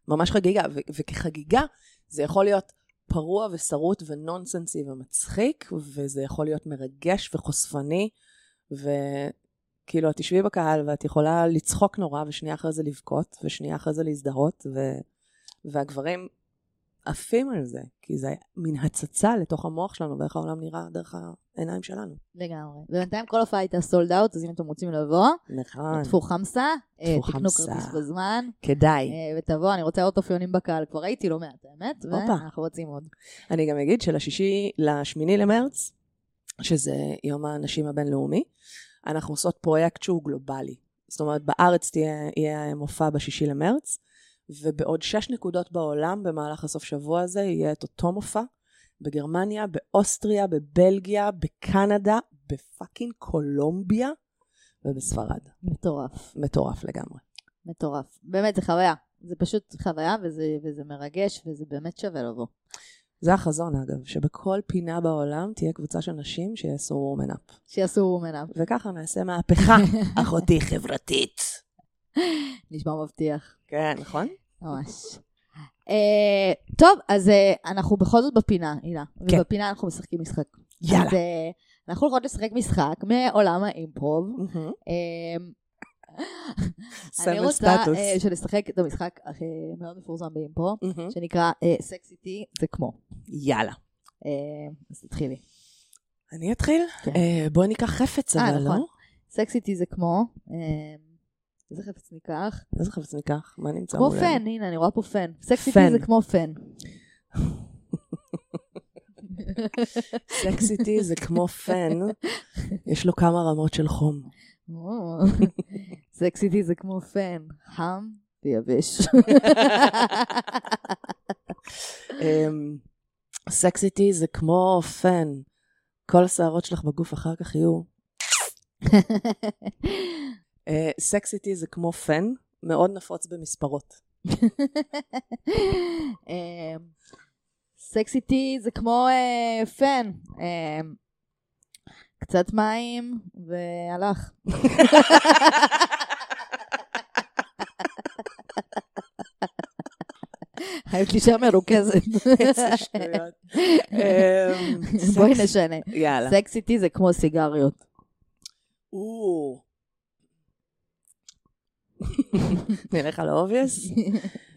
ממש חגיגה, ו, וכחגיגה זה יכול להיות פרוע ושרוט ונונסנסי ומצחיק, וזה יכול להיות מרגש וחושפני, וכאילו, כאילו, את תשבי בקהל ואת יכולה לצחוק נורא, ושנייה אחרי זה לבכות, ושנייה אחרי זה להזדהות, ו... והגברים עפים על זה, כי זה מין הצצה לתוך המוח שלנו, ואיך העולם נראה דרך העיניים שלנו. לגמרי. ובינתיים כל הופעה הייתה סולד אאוט, אז אם אתם רוצים לבוא, נכון. תפו חמסה, אה, תפו תקנו חמסה. כרטיס בזמן, כדאי. אה, ותבוא, אני רוצה עוד אופיונים בקהל, כבר ראיתי לא מעט, האמת, הופה. ואנחנו רוצים עוד. אני גם אגיד שלשישי, לשמיני למרץ, שזה יום הנשים הבינלאומי, אנחנו עושות פרויקט שהוא גלובלי. זאת אומרת, בארץ תהיה, יהיה מופע בשישי למרץ, ובעוד שש נקודות בעולם במהלך הסוף שבוע הזה יהיה את אותו מופע, בגרמניה, באוסטריה, בבלגיה, בקנדה, בפאקינג קולומביה ובספרד. מטורף, מטורף לגמרי. מטורף. באמת, זה חוויה. זה פשוט חוויה, וזה, וזה מרגש, וזה באמת שווה לבוא. זה החזון אגב, שבכל פינה בעולם תהיה קבוצה של נשים שיעשו וומן אפ. שיעשו רומנה. וככה נעשה מהפכה, אחותי חברתית. נשמע מבטיח. כן, נכון? ממש. Uh, טוב, אז uh, אנחנו בכל זאת בפינה, הילה. כן. ובפינה אנחנו משחקים משחק. יאללה. אז, uh, אנחנו הולכות לשחק משחק מעולם האימפרוב. Uh, אני סמל רוצה סטטוס. uh, שנשחק את המשחק uh, מאוד מפורסם באימפרו, מהמם. שנקרא uh, סקס איטי זה כמו. יאללה. Uh, אז תתחילי. אני אתחיל? כן. אה, בואי ניקח חפץ, אה, אבל נכון. לא? סקס איטי זה כמו, uh, איזה חפץ ניקח? איזה חפץ ניקח? מה נמצא כמו מולנו? פן, הנה, אני רואה פה פן. סקס פן. איטי זה כמו פן. סקסיטי זה כמו פן, יש לו כמה רמות של חום. או, סקסיטי זה כמו פן, חם ויבש. אמ, סקסיטי זה כמו פן, כל השערות שלך בגוף אחר כך יהיו. אה, סקסיטי זה כמו פן, מאוד נפוץ במספרות. אמ, סקסיטי זה כמו אה, פן, אמ, קצת מים והלך. הייתי שם מרוכזת. איזה שטויות. אמ, בואי סקס- נשנה. יאללה. סקסיטי זה כמו סיגריות. או. נלך על האובייס.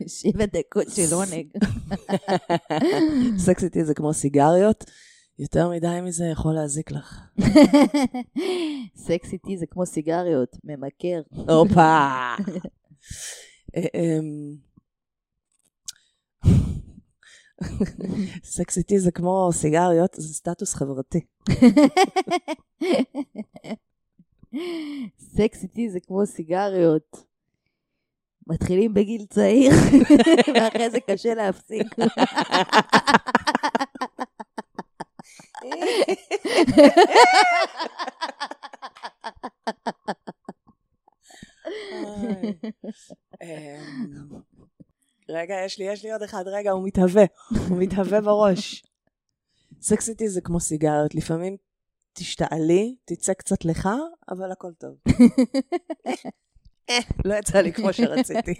שיבה דקות שילוניג. סקס איתי זה כמו סיגריות, יותר מדי מזה יכול להזיק לך. סקס איתי זה כמו סיגריות, ממכר. הופה! אה, אמ, סקס איתי זה כמו סיגריות, זה סטטוס חברתי. סקס איתי זה כמו סיגריות. מתחילים בגיל צעיר, ואחרי זה קשה להפסיק. אמ, רגע, יש לי, יש לי עוד אחד, רגע, הוא מתהווה, הוא מתהווה בראש. סקס איתי זה כמו סיגריות, לפעמים תשתעלי, תצא קצת לך, אבל הכל טוב. אה, לא יצא לי כמו שרציתי.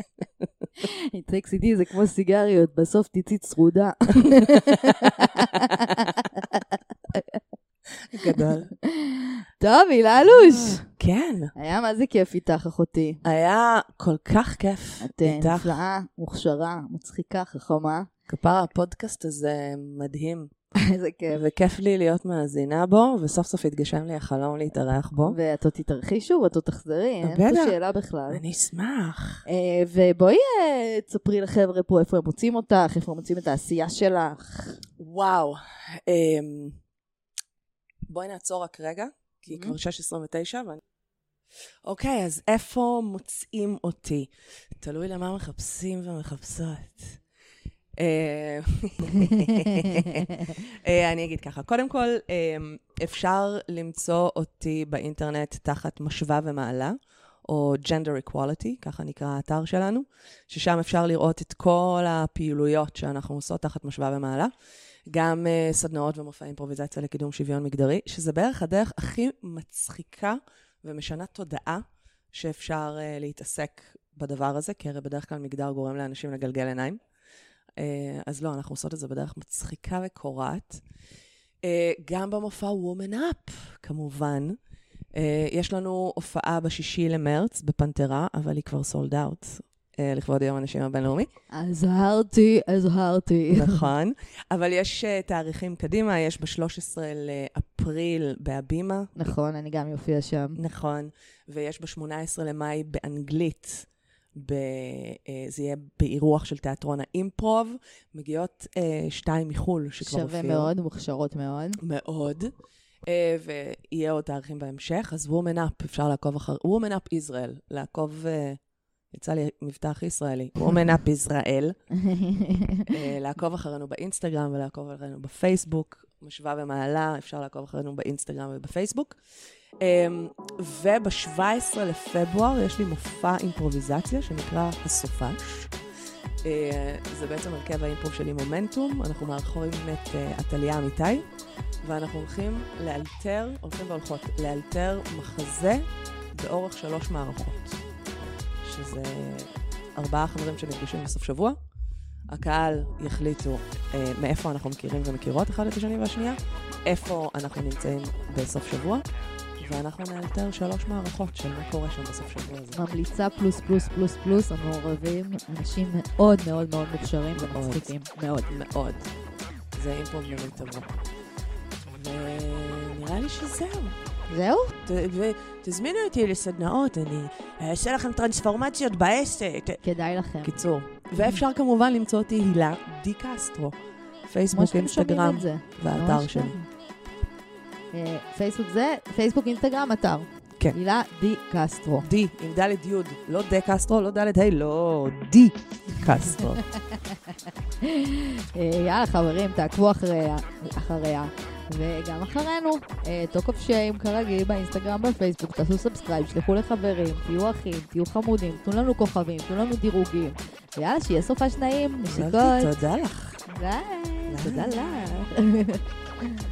סקס איתי זה כמו סיגריות, בסוף תצאי צרודה. גדול. טוב, הילה אלוש. כן, היה מה זה כיף איתך, אחותי. היה כל כך כיף את אה, איתך. נפלאה, מוכשרה, מצחיקה, חכמה. כפר הפודקאסט הזה מדהים, איזה כיף. וכיף לי להיות מאזינה בו, וסוף סוף התגשם לי החלום להתארח בו. ואת עוד תתארחי שוב, את עוד תחזרי, אין פה בטח. שאלה בכלל. אני אשמח. אה, ובואי אה, תספרי לחבר'ה פה איפה הם מוצאים אותך, איפה הם מוצאים את העשייה שלך. וואו. אמ, בואי נעצור רק רגע, כי Mhm. כבר 6.29 ואני... אוקיי, אז איפה מוצאים אותי? תלוי למה מחפשים ומחפשות. אה, אה, אני אגיד ככה, קודם כל, אמ, אפשר למצוא אותי באינטרנט תחת משווה ומעלה, או Gender Equality, ככה נקרא האתר שלנו, ששם אפשר לראות את כל הפעילויות שאנחנו עושות תחת משווה ומעלה. גם uh, סדנאות ומופעי אימפרוביזציה לקידום שוויון מגדרי, שזה בערך הדרך הכי מצחיקה ומשנה תודעה שאפשר uh, להתעסק בדבר הזה, כי הרי בדרך כלל מגדר גורם לאנשים לגלגל עיניים. Uh, אז לא, אנחנו עושות את זה בדרך מצחיקה וקורעת. Uh, גם במופע Woman Up, כמובן. Uh, יש לנו הופעה בשישי למרץ בפנתרה, אבל היא כבר סולד אאוט, uh, לכבוד יום הנשים הבינלאומי. הזהרתי, הזהרתי. נכון, אבל יש אה, תאריכים קדימה, יש ב-13 לאפריל בהבימה, נכון, אני גם יופיע שם. נכון, ויש ב-18 למאי באנגלית. ב... אה, זה יהיה באירוח של תיאטרון האימפרוב. מגיעות אה, שתיים מחו"ל שכבר שווה הופיעו. מאוד, מוכשרות מאוד. מאוד. אה, ויהיה עוד תאריכים בהמשך, אז וומן אפ, אפשר לעקוב אחר... וומן אפ ישראל, לעקוב... אה, יצא לי מבטא הכי ישראלי, וומן אפ ישראל. אה, לעקוב אחרינו באינסטגרם ולעקוב אחרינו בפייסבוק, משווה ומעלה, אפשר לעקוב אחרינו באינסטגרם ובפייסבוק. אמ, וב-17 לפברואר יש לי מופע אימפרוביזציה שנקרא הסופש. אה, זה בעצם הרכב האימפרוב שלי מומנטום, אנחנו מארחים את אה, עתליה אמיתי, ואנחנו הולכים לאלתר, הולכים והולכות, לאלתר מחזה באורך שלוש מערכות, שזה ארבעה חברים שנפגשים בסוף שבוע. הקהל יחליטו אה, מאיפה אנחנו מכירים ומכירות אחד את השני והשנייה, איפה אנחנו נמצאים בסוף שבוע, ואנחנו נאלתר שלוש מערכות של מה קורה שם בסוף שבוע הזה. ממליצה פלוס פלוס פלוס פלוס, המעורבים, אנשים מאוד מאוד מאוד מוכשרים ומצחיקים. מאוד. מאוד. זה אימפרוב במיטבו. ונראה לי שזהו. זהו? ת- ותזמינו אותי לסדנאות, אני אה, אעשה לכם טרנספורמציות בעסק. כדאי לכם. קיצור. ואפשר כמובן למצוא אותי הילה די כמו קסטרו. פייסבוק, שאתם שומעים אינסטגרם את זה. והאתר ממש שלי. ככה. אה, פייסבוק זה, פייסבוק, אינסטגרם, אתר. כן. הילה די קסטרו. די, עם דלת יוד, לא דה קסטרו, לא דלת היי, לא די קסטרו. אה, יאללה חברים, תעקבו אחריה, אחריה וגם אחרינו. אה, תוקף שיים כרגיל באינסטגרם, בפייסבוק, תעשו סאבסקרייב, שלחו לחברים, תהיו אחים, תהיו חמודים, תנו לנו כוכבים, תנו לנו דירוגים. ויאללה, שיהיה סופה שניים, נשיקות. תודה לך. ביי. תודה לך.